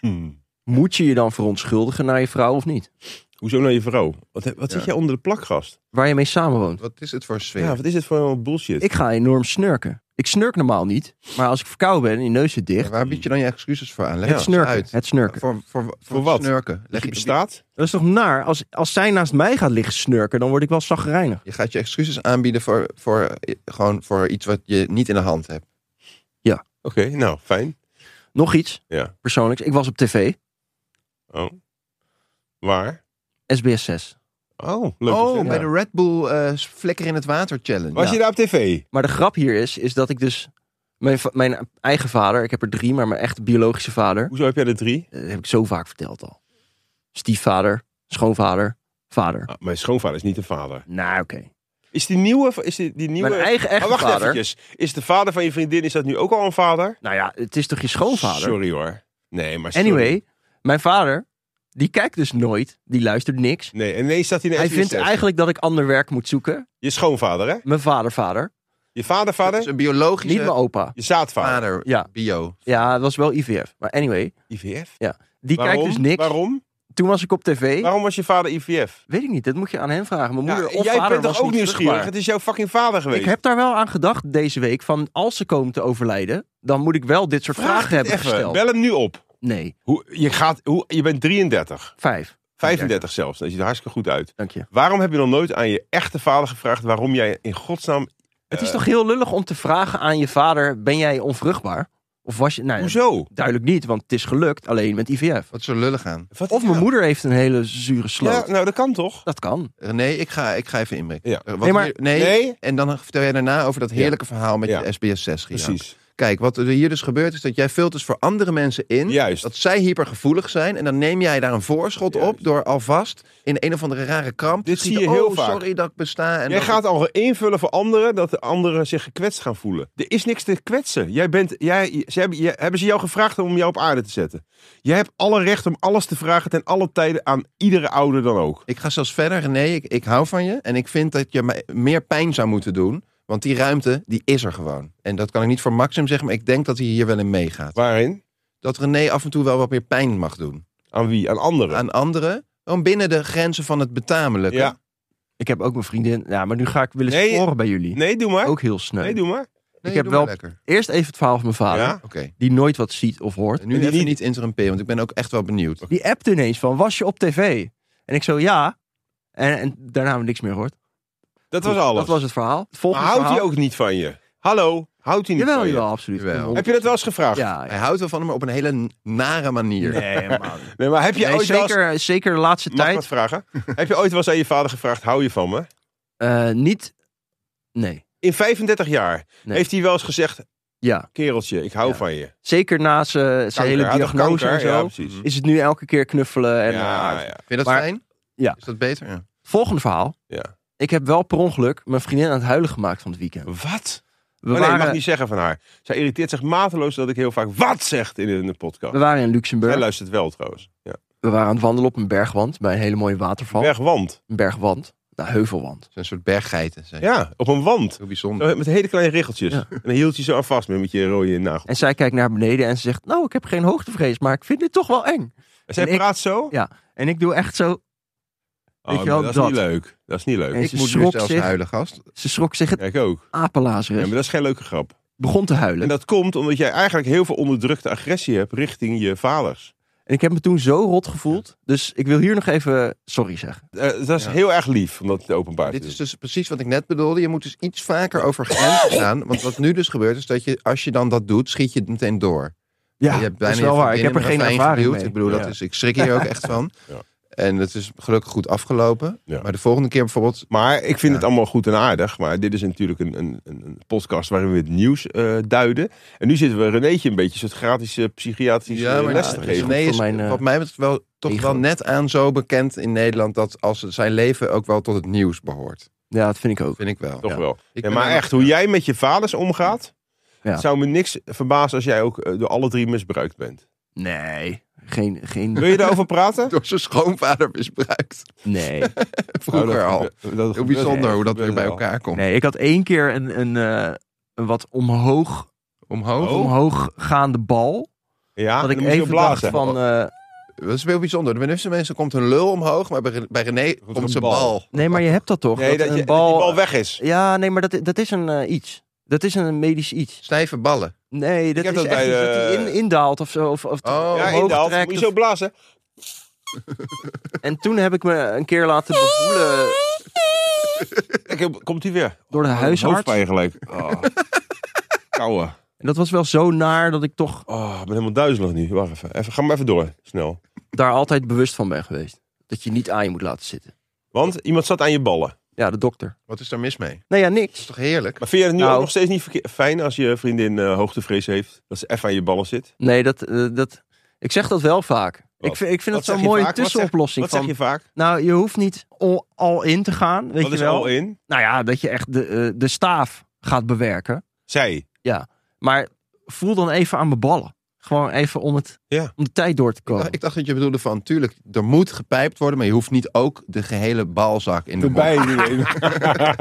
S4: bent, moet je je dan verontschuldigen naar je vrouw of niet?
S2: Hoezo naar je vrouw? Wat, wat zit
S3: Ja.
S2: jij onder de plak, gast?
S4: Waar je mee samenwoont.
S3: Wat is het voor sfeer?
S2: Ja, wat is dit voor een bullshit?
S4: Ik ga enorm snurken. Ik snurk normaal niet. Maar als ik verkouden ben en je neus zit dicht.
S3: Ja, Waar bied je dan je excuses voor aan? Leg
S4: Het
S3: eens
S4: snurken.
S3: uit.
S4: Het snurken.
S3: Voor, voor, voor,
S2: wat?
S3: Snurken.
S2: dat
S3: Leg
S2: je
S3: je,
S2: bestaat?
S4: Dat is toch naar? Als, als zij naast mij gaat liggen snurken, dan word ik wel zagrijnig.
S3: je gaat je excuses aanbieden voor, voor, eh, gewoon voor iets wat je niet in de hand hebt.
S2: Oké, nou, fijn.
S4: Nog iets
S2: Ja.
S4: persoonlijks. Ik was op tv.
S2: Oh. Waar?
S4: SBS 6.
S2: Oh, leuk.
S3: oh,
S2: Ja.
S3: bij de Red Bull eh, flikker in het water challenge.
S2: Was
S3: Ja.
S2: je daar op tv?
S4: Maar de grap hier is, is dat ik dus... Mijn, va- mijn eigen vader, ik heb er drie, maar mijn echte biologische vader...
S2: Hoezo heb jij er drie?
S4: eh, Dat heb ik zo vaak verteld al. Stiefvader, schoonvader, vader.
S2: Ah, mijn schoonvader is niet de vader.
S4: Nou, oké.
S2: Is die nieuwe... Is die, die nieuwe...
S4: Mijn eigen echte
S2: Oh, wacht
S4: vader.
S2: eventjes. Is de vader van je vriendin, is dat nu ook al een vader?
S4: Nou ja, het is toch je schoonvader?
S2: Sorry hoor. Nee, maar sorry.
S4: Anyway, mijn vader, die kijkt dus nooit. Die luistert niks.
S2: Nee, en ineens staat hij in de
S4: Hij
S2: SBS6.
S4: vindt eigenlijk dat ik ander werk moet zoeken.
S2: Je schoonvader, hè?
S4: Mijn vader, vader.
S2: Je
S3: Dat
S2: vadervader?
S3: is een biologische
S4: Niet mijn opa.
S2: Je zaadvader?
S3: vader.
S4: Ja.
S3: Bio.
S4: Ja, het was wel IVF. Maar anyway,
S2: IVF?
S4: die kijkt dus niks.
S2: Waarom?
S4: Toen was ik op tv.
S2: Waarom was je vader IVF?
S4: Weet ik niet, dat moet je aan hem vragen. Mijn moeder
S2: Ja,
S4: of
S2: jij
S4: vader
S2: bent
S4: was
S2: toch ook
S4: niet
S2: nieuwsgierig?
S4: vruchtbaar.
S2: Het is jouw fucking vader geweest.
S4: Ik heb daar wel aan gedacht deze week. Van als ze komen te overlijden, dan moet ik wel dit soort vragen hebben
S2: Even,
S4: gesteld.
S2: Bel hem nu op.
S4: Nee,
S2: Hoe, je, gaat, hoe, je bent 33,
S4: vijf.
S2: 35 zelfs. Dat ziet er hartstikke goed uit.
S4: Dank je.
S2: Waarom heb je nog nooit aan je echte vader gevraagd waarom jij in godsnaam...
S4: Het is toch heel lullig om te vragen aan je vader: ben jij onvruchtbaar? Of was je. Nou, ja,
S2: Hoezo?
S4: Duidelijk niet, want het is gelukt alleen met IVF.
S3: Wat zo lullig aan.
S2: Wat-
S4: Of mijn
S2: ja.
S4: moeder heeft een hele zure sloot.
S2: Ja, nou dat kan toch?
S4: Dat kan.
S3: Eh, Nee, ik ga, ik ga even inbreken.
S2: Ja.
S3: Eh, wat
S4: Nee, maar-
S3: hier- nee,
S2: Nee?
S3: En dan vertel jij daarna over dat heerlijke verhaal met
S2: Ja.
S3: je SBS 6
S2: Precies.
S3: Kijk, wat er hier dus gebeurt is dat jij vult dus voor andere mensen in.
S2: Juist.
S3: Dat zij hypergevoelig zijn. En dan neem jij daar een voorschot op
S2: Juist.
S3: door alvast in een of andere rare kramp te
S2: Dit zie
S3: schieten.
S2: je heel
S3: oh,
S2: vaak.
S3: sorry dat ik besta. En
S2: Jij
S3: dat
S2: gaat al invullen voor anderen dat de anderen zich gekwetst gaan voelen. Er is niks te kwetsen. Jij bent, jij, ze hebben, jij- hebben ze jou gevraagd om jou op aarde te zetten? Jij hebt alle recht om alles te vragen ten alle tijden aan iedere ouder dan ook.
S3: Ik ga zelfs verder. René, ik, ik hou van je. En ik vind dat je mij meer pijn zou moeten doen. Want die ruimte, die is er gewoon. En dat kan ik niet voor Maxim zeggen, maar ik denk dat hij hier wel in meegaat.
S2: Waarin?
S3: Dat René af en toe wel wat meer pijn mag doen.
S2: Aan wie? Aan anderen.
S3: Aan anderen, gewoon binnen de grenzen van het betamelijke.
S2: Ja.
S4: Ik heb ook mijn vriendin. Ja, maar nu ga ik willen
S2: Nee.
S4: sporen bij jullie.
S2: Nee, doe maar.
S4: Ook heel snel.
S2: Nee, doe maar.
S3: Nee,
S4: Ik heb
S3: doe maar
S4: wel-
S3: Lekker.
S4: Eerst even het verhaal van mijn vader,
S2: Ja.
S3: Oké.
S4: die nooit wat ziet of hoort.
S3: Nu
S2: En die
S3: even
S2: niet-
S3: niet interrumperen, want ik ben ook echt wel benieuwd.
S4: Die appte ineens van: was je op tv? En ik zo ja. En, en daarna hebben we niks meer gehoord.
S2: Dat was alles.
S4: Dat was het verhaal. Het
S2: maar
S4: volgende
S2: houdt hij
S4: verhaal.
S2: ook niet van je? Hallo? Houdt hij niet
S4: Jawel,
S2: van je?
S4: jawel, absoluut.
S3: Jawel.
S2: Heb je dat wel eens gevraagd?
S4: Ja,
S3: Hij
S4: ja.
S3: houdt wel van hem, maar op een hele n- nare manier.
S4: Nee, man.
S2: Nee, maar heb je
S4: Nee,
S2: ooit wel eens...
S4: zeker, zeker de laatste
S2: Mag ik
S4: tijd.
S2: wat vragen? heb je ooit wel eens aan je vader gevraagd, hou je van me?
S4: Eh, niet. Nee.
S2: In 35 jaar
S4: Nee.
S2: heeft hij wel eens gezegd,
S4: Ja.
S2: kereltje, ik hou
S4: Ja.
S2: van je.
S4: Zeker na zijn, zijn
S2: Kanker,
S4: hele
S2: hij had toch
S4: diagnose en
S2: kanker?
S4: zo.
S2: Ja, precies.
S4: is het nu elke keer knuffelen. En,
S2: ja,
S4: ah,
S2: ja.
S3: Vind je dat
S4: Maar-
S3: fijn?
S4: Ja.
S3: Is dat beter? Ja.
S4: Volgende verhaal.
S2: Ja.
S4: Ik heb wel per ongeluk mijn vriendin aan het huilen gemaakt van het weekend. We
S2: Wat?
S4: waren,
S2: Oh, nee, je mag niet zeggen van haar. Zij irriteert zich mateloos dat ik heel vaak wat zegt in een podcast.
S4: we waren in
S2: Hij
S4: Luxemburg.
S2: luistert wel trouwens. Ja.
S4: We waren aan het wandelen op een bergwand bij een hele mooie waterval.
S2: Bergwand.
S4: Een bergwand. Nou, heuvelwand.
S3: Zo'n soort berggeiten. Zijn.
S2: Ja, op een wand.
S3: Heel bijzonder.
S2: Zo Met hele kleine riggeltjes.
S4: Ja.
S2: En dan hield je zo aan vast met, met je rode nagel.
S4: En zij kijkt naar beneden en ze zegt: Nou, ik heb geen hoogtevrees, maar ik vind dit toch wel eng.
S2: En zij
S4: en ik-
S2: praat zo.
S4: En ik doe echt zo.
S2: Oh,
S4: Weet je wel,
S2: maar dat,
S4: dat.
S2: is niet leuk. Dat is niet leuk.
S4: En
S3: Ik
S4: ze
S3: moet nu
S4: schrok
S3: zelfs
S4: zich.
S3: huilen, gast.
S4: Ze schrok zich het
S2: Ja, ik ook. Ja,
S4: apelazeres.
S2: maar dat is geen leuke grap.
S4: Begon te huilen.
S2: En dat komt omdat jij eigenlijk heel veel onderdrukte agressie hebt richting je vaders.
S4: En ik heb me toen zo rot gevoeld. Dus ik wil hier nog even sorry zeggen.
S2: Eh, dat is
S3: Ja.
S2: heel erg lief, omdat het openbaar
S3: Dit is dus precies wat ik net bedoelde. Je moet dus iets vaker over grenzen
S4: Oh.
S3: gaan. Want wat nu dus gebeurt, is dat je, als je dan dat doet, schiet je het meteen door.
S4: Ja,
S3: je
S4: dat is wel
S3: je
S4: waar. Ik heb er
S3: vriendin
S4: geen
S3: in een ravijn
S4: ervaring
S3: geduwd.
S4: mee.
S3: Ik bedoel,
S2: Ja.
S3: dat is, ik schrik hier ook echt van.
S2: Ja.
S3: En het is gelukkig goed afgelopen.
S2: Ja.
S3: Maar de volgende keer bijvoorbeeld...
S2: Maar ik vind
S3: Ja.
S2: het allemaal goed en aardig. Maar dit is natuurlijk een, een, een een podcast waarin we het nieuws eh, duiden. En nu zitten we Renéetje een beetje een soort gratis eh, psychiatrische eh,
S3: maar
S2: les
S4: ja,
S2: te
S4: het is
S2: geven.
S4: een-
S3: nee, is
S4: Voor mijn, eh,
S3: wat mij betreft wel, toch
S4: ego.
S3: wel net aan zo bekend in Nederland... dat als zijn leven ook wel tot het nieuws behoort.
S4: Ja, dat vind ik ook.
S3: Vind ik wel.
S2: Toch
S3: Ja.
S2: wel.
S3: Ik
S2: Ja,
S3: ben
S2: maar
S3: daar-
S2: echt, hoe jij met je vaders omgaat,
S4: Ja.
S2: het zou me niks verbazen als jij ook eh, door alle drie misbruikt bent.
S4: Nee, geen...
S2: Wil
S4: geen
S2: je daarover praten?
S3: Door zijn schoonvader misbruikt.
S4: nee.
S3: Vroeger
S2: Oh, dat-
S3: al.
S2: dat- dat-
S3: Heel bijzonder
S2: dat-
S3: hoe dat weer bij
S2: wel.
S3: elkaar komt.
S4: Nee, ik had één keer een, een, eh, een wat omhoog,
S3: Omhoog.
S4: omhoog gaande bal.
S2: Ja,
S4: dat
S2: en Oh. Ah, dan
S4: ik
S2: moest je
S4: even dacht
S2: blazen.
S4: van... eh,
S3: Dat is heel bijzonder. Bij de meeste mensen komt een lul omhoog, maar bij, bij René komt
S2: een
S3: zijn
S2: bal.
S3: bal.
S4: Nee, maar je hebt dat toch?
S2: Nee, dat,
S4: een
S2: je, bal... die bal weg is.
S4: Ja, nee, maar dat, dat is een eh, iets. Dat is een medisch iets.
S3: Stijve ballen.
S4: Nee, dat
S2: heb
S4: is
S2: dat
S4: echt
S2: bij
S4: iets
S2: de-
S4: dat hij in, indaalt of zo. Of, of
S3: Oh, ja,
S2: Ja,
S4: omhoog
S2: in de half.
S4: trekt
S2: Moet je
S4: of-
S2: zo blazen.
S4: En toen heb ik me een keer laten bevoelen
S2: Kijk, komt hij weer.
S4: door de huisarts.
S2: Oh, Hoofdpijn gelijk. Oh. Kouwe.
S4: En dat was wel zo naar dat ik toch
S2: Oh, ik ben helemaal duizelig nu. Wacht even. even. Ga maar even door. Snel.
S4: daar altijd bewust van ben geweest. Dat je niet aan je moet laten zitten.
S2: Want iemand zat aan je ballen.
S4: Ja, de dokter.
S3: Wat is daar mis mee?
S4: Nee, ja, niks.
S3: Toch heerlijk?
S2: Maar vind je het nu
S4: Nou.
S2: ook nog steeds niet verkeer- fijn als je vriendin eh, hoogtevrees heeft? Dat ze even aan je ballen zit?
S4: Nee, dat, eh, dat, ik zeg dat wel vaak. Ik, vind- ik vind
S2: Wat
S4: dat
S2: zeg
S4: zo'n
S2: je
S4: mooie
S2: vaak? Wat zeg-
S4: tussenoplossing.
S2: Wat zeg je
S4: van,
S2: vaak?
S4: Nou, je hoeft niet al, al in te gaan. Weet
S2: Wat
S4: je
S2: is
S4: wel?
S2: al in?
S4: Nou ja, dat je echt de, eh, de staaf gaat bewerken.
S2: Zij.
S4: Maar voel dan even aan mijn ballen. Gewoon even om, het,
S2: Ja.
S4: om de tijd door te komen.
S3: Ik dacht dat je bedoelde van, tuurlijk, er moet gepijpt worden, maar je hoeft niet ook de gehele balzak in de mond.
S2: Erbij. ja,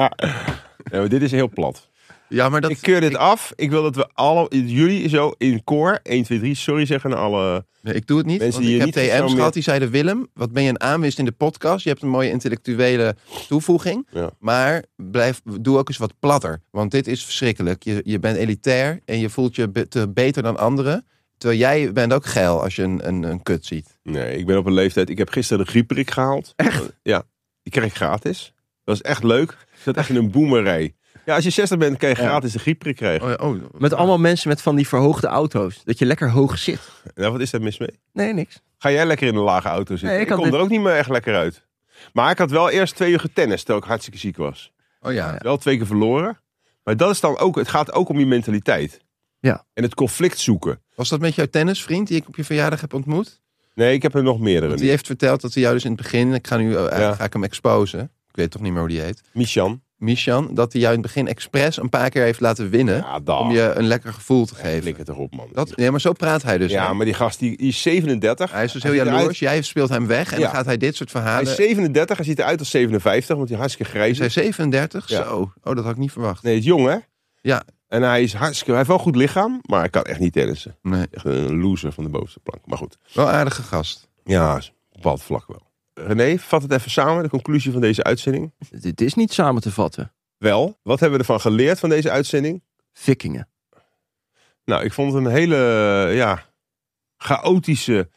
S2: maar dit is heel plat.
S3: Ja, maar dat...
S2: ik keur dit af. Ik wil dat we alle, jullie zo in koor 1, 2, 3 sorry zeggen aan alle...
S3: Nee, ik doe het niet.
S2: Mensen
S3: want
S2: die
S3: ik
S2: je
S3: heb
S2: niet
S3: TM's
S2: zo meer-
S3: gehad, die zeiden... Willem, wat ben je een aanwist in de podcast? Je hebt een mooie intellectuele toevoeging.
S2: Ja.
S3: Maar blijf, doe ook eens wat platter. Want dit is verschrikkelijk. Je, je bent elitair en je voelt je be- te beter dan anderen. Terwijl jij bent ook geil als je een, een, een kut ziet.
S2: Nee, ik ben op een leeftijd... Ik heb gisteren de griepprik gehaald. Echt? Ja, die kreeg ik gratis. Dat is echt leuk. Ik zat echt in een boemerij. Ja, als je 60 bent, kan je gratis de griepprik krijgen.
S3: Oh, ja, oh,
S4: Met allemaal mensen met van die verhoogde auto's. Dat je lekker hoog zit.
S3: Oh.
S2: Nou, wat is daar mis mee?
S4: Nee, niks.
S2: Ga jij lekker in een lage auto zitten?
S4: Nee, ik
S2: ik
S4: had
S2: kom
S4: dit-
S2: er ook niet meer echt lekker uit. Maar ik had wel eerst twee uur getennist, terwijl ik hartstikke ziek was.
S3: oh ja.
S2: Wel twee keer verloren. Maar dat is dan ook, het gaat ook om je mentaliteit.
S4: Ja.
S2: En het conflict zoeken.
S3: Was dat met jouw tennisvriend die ik op je verjaardag heb ontmoet?
S2: Nee, ik heb er nog meerdere.
S3: Want die
S2: nu.
S3: heeft verteld dat hij jou dus in het begin... Ik ga nu eh,
S2: Ja.
S3: ga ik hem exposen. Ik weet toch niet meer hoe die heet.
S2: Michan.
S3: Michan, dat hij jou in het begin expres een paar keer heeft laten winnen...
S2: Ja, daar.
S3: om je een lekker gevoel te geven.
S2: Flikker het erop, man.
S3: Dat, nee, maar zo praat hij dus.
S2: ja,
S3: hè?
S2: maar die gast die, die is 37.
S3: Hij is dus heel
S2: ziet eruit-
S3: jaloers. Jij speelt hem weg en
S2: Ja.
S3: dan gaat hij dit soort
S2: Hij
S3: verhalen.
S2: is 37, hij ziet eruit als 57, want hij is hartstikke
S3: Is
S2: grijs.
S3: hij 37?
S2: Ja.
S3: Zo. Oh, dat had ik niet verwacht.
S2: Nee, hij is jong, hè?
S3: Ja.
S2: En hij, is hartstikke, hij heeft wel goed lichaam, maar hij kan echt niet tennissen.
S3: Nee.
S2: Echt een loser van de bovenste plank. Maar goed.
S3: Wel aardige gast.
S2: Ja, op een bepaald vlak wel. René, vat het even samen, de conclusie van deze uitzending.
S4: Dit is niet samen te vatten.
S2: Wel, wat hebben we ervan geleerd van deze uitzending?
S4: Vikingen.
S2: Nou, ik vond het een hele eh, ja, chaotische,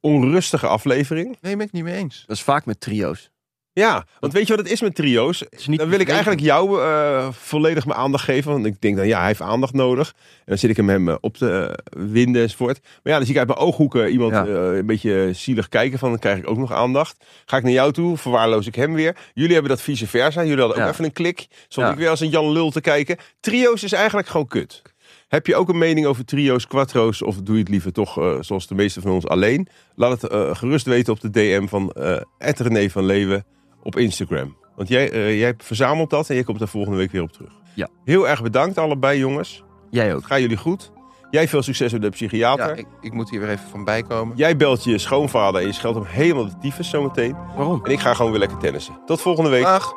S2: onrustige aflevering.
S3: Nee, ben ik niet mee eens.
S4: Dat is vaak met trio's.
S2: Ja, want weet je wat het is met trio's?
S4: Het is niet
S2: Dan wil ik eigenlijk jou eh, volledig mijn aandacht geven. Want ik denk dan, ja, hij heeft aandacht nodig. En dan zit ik hem, hem eh, op te eh, winden enzovoort. Maar ja, dan zie ik uit mijn ooghoeken iemand
S4: Ja.
S2: eh, een beetje zielig kijken. Van, dan krijg ik ook nog aandacht. Ga ik naar jou toe, verwaarloos ik hem weer. Jullie hebben dat vice versa. Jullie hadden ook
S4: Ja.
S2: even een klik. Stond
S4: Ja.
S2: ik weer als een Jan Lul te kijken. Trio's is eigenlijk gewoon kut. Heb je ook een mening over trio's, quattro's of doe je het liever toch eh, zoals de meeste van ons alleen? Laat het eh, gerust weten op de DM van eh René van Leeuwen op Instagram. Want jij, eh, jij verzamelt dat en jij komt daar volgende week weer op terug.
S4: Ja.
S2: Heel erg bedankt allebei jongens.
S4: Jij ook.
S2: Het gaat jullie goed. Jij veel succes met de
S3: Ja,
S2: psychiater.
S3: ik, ik moet hier weer even van bijkomen.
S2: Jij belt je schoonvader en je scheldt hem helemaal de tyfus zometeen.
S4: Waarom?
S2: En ik ga gewoon weer lekker tennissen. Tot volgende week.
S3: Dag.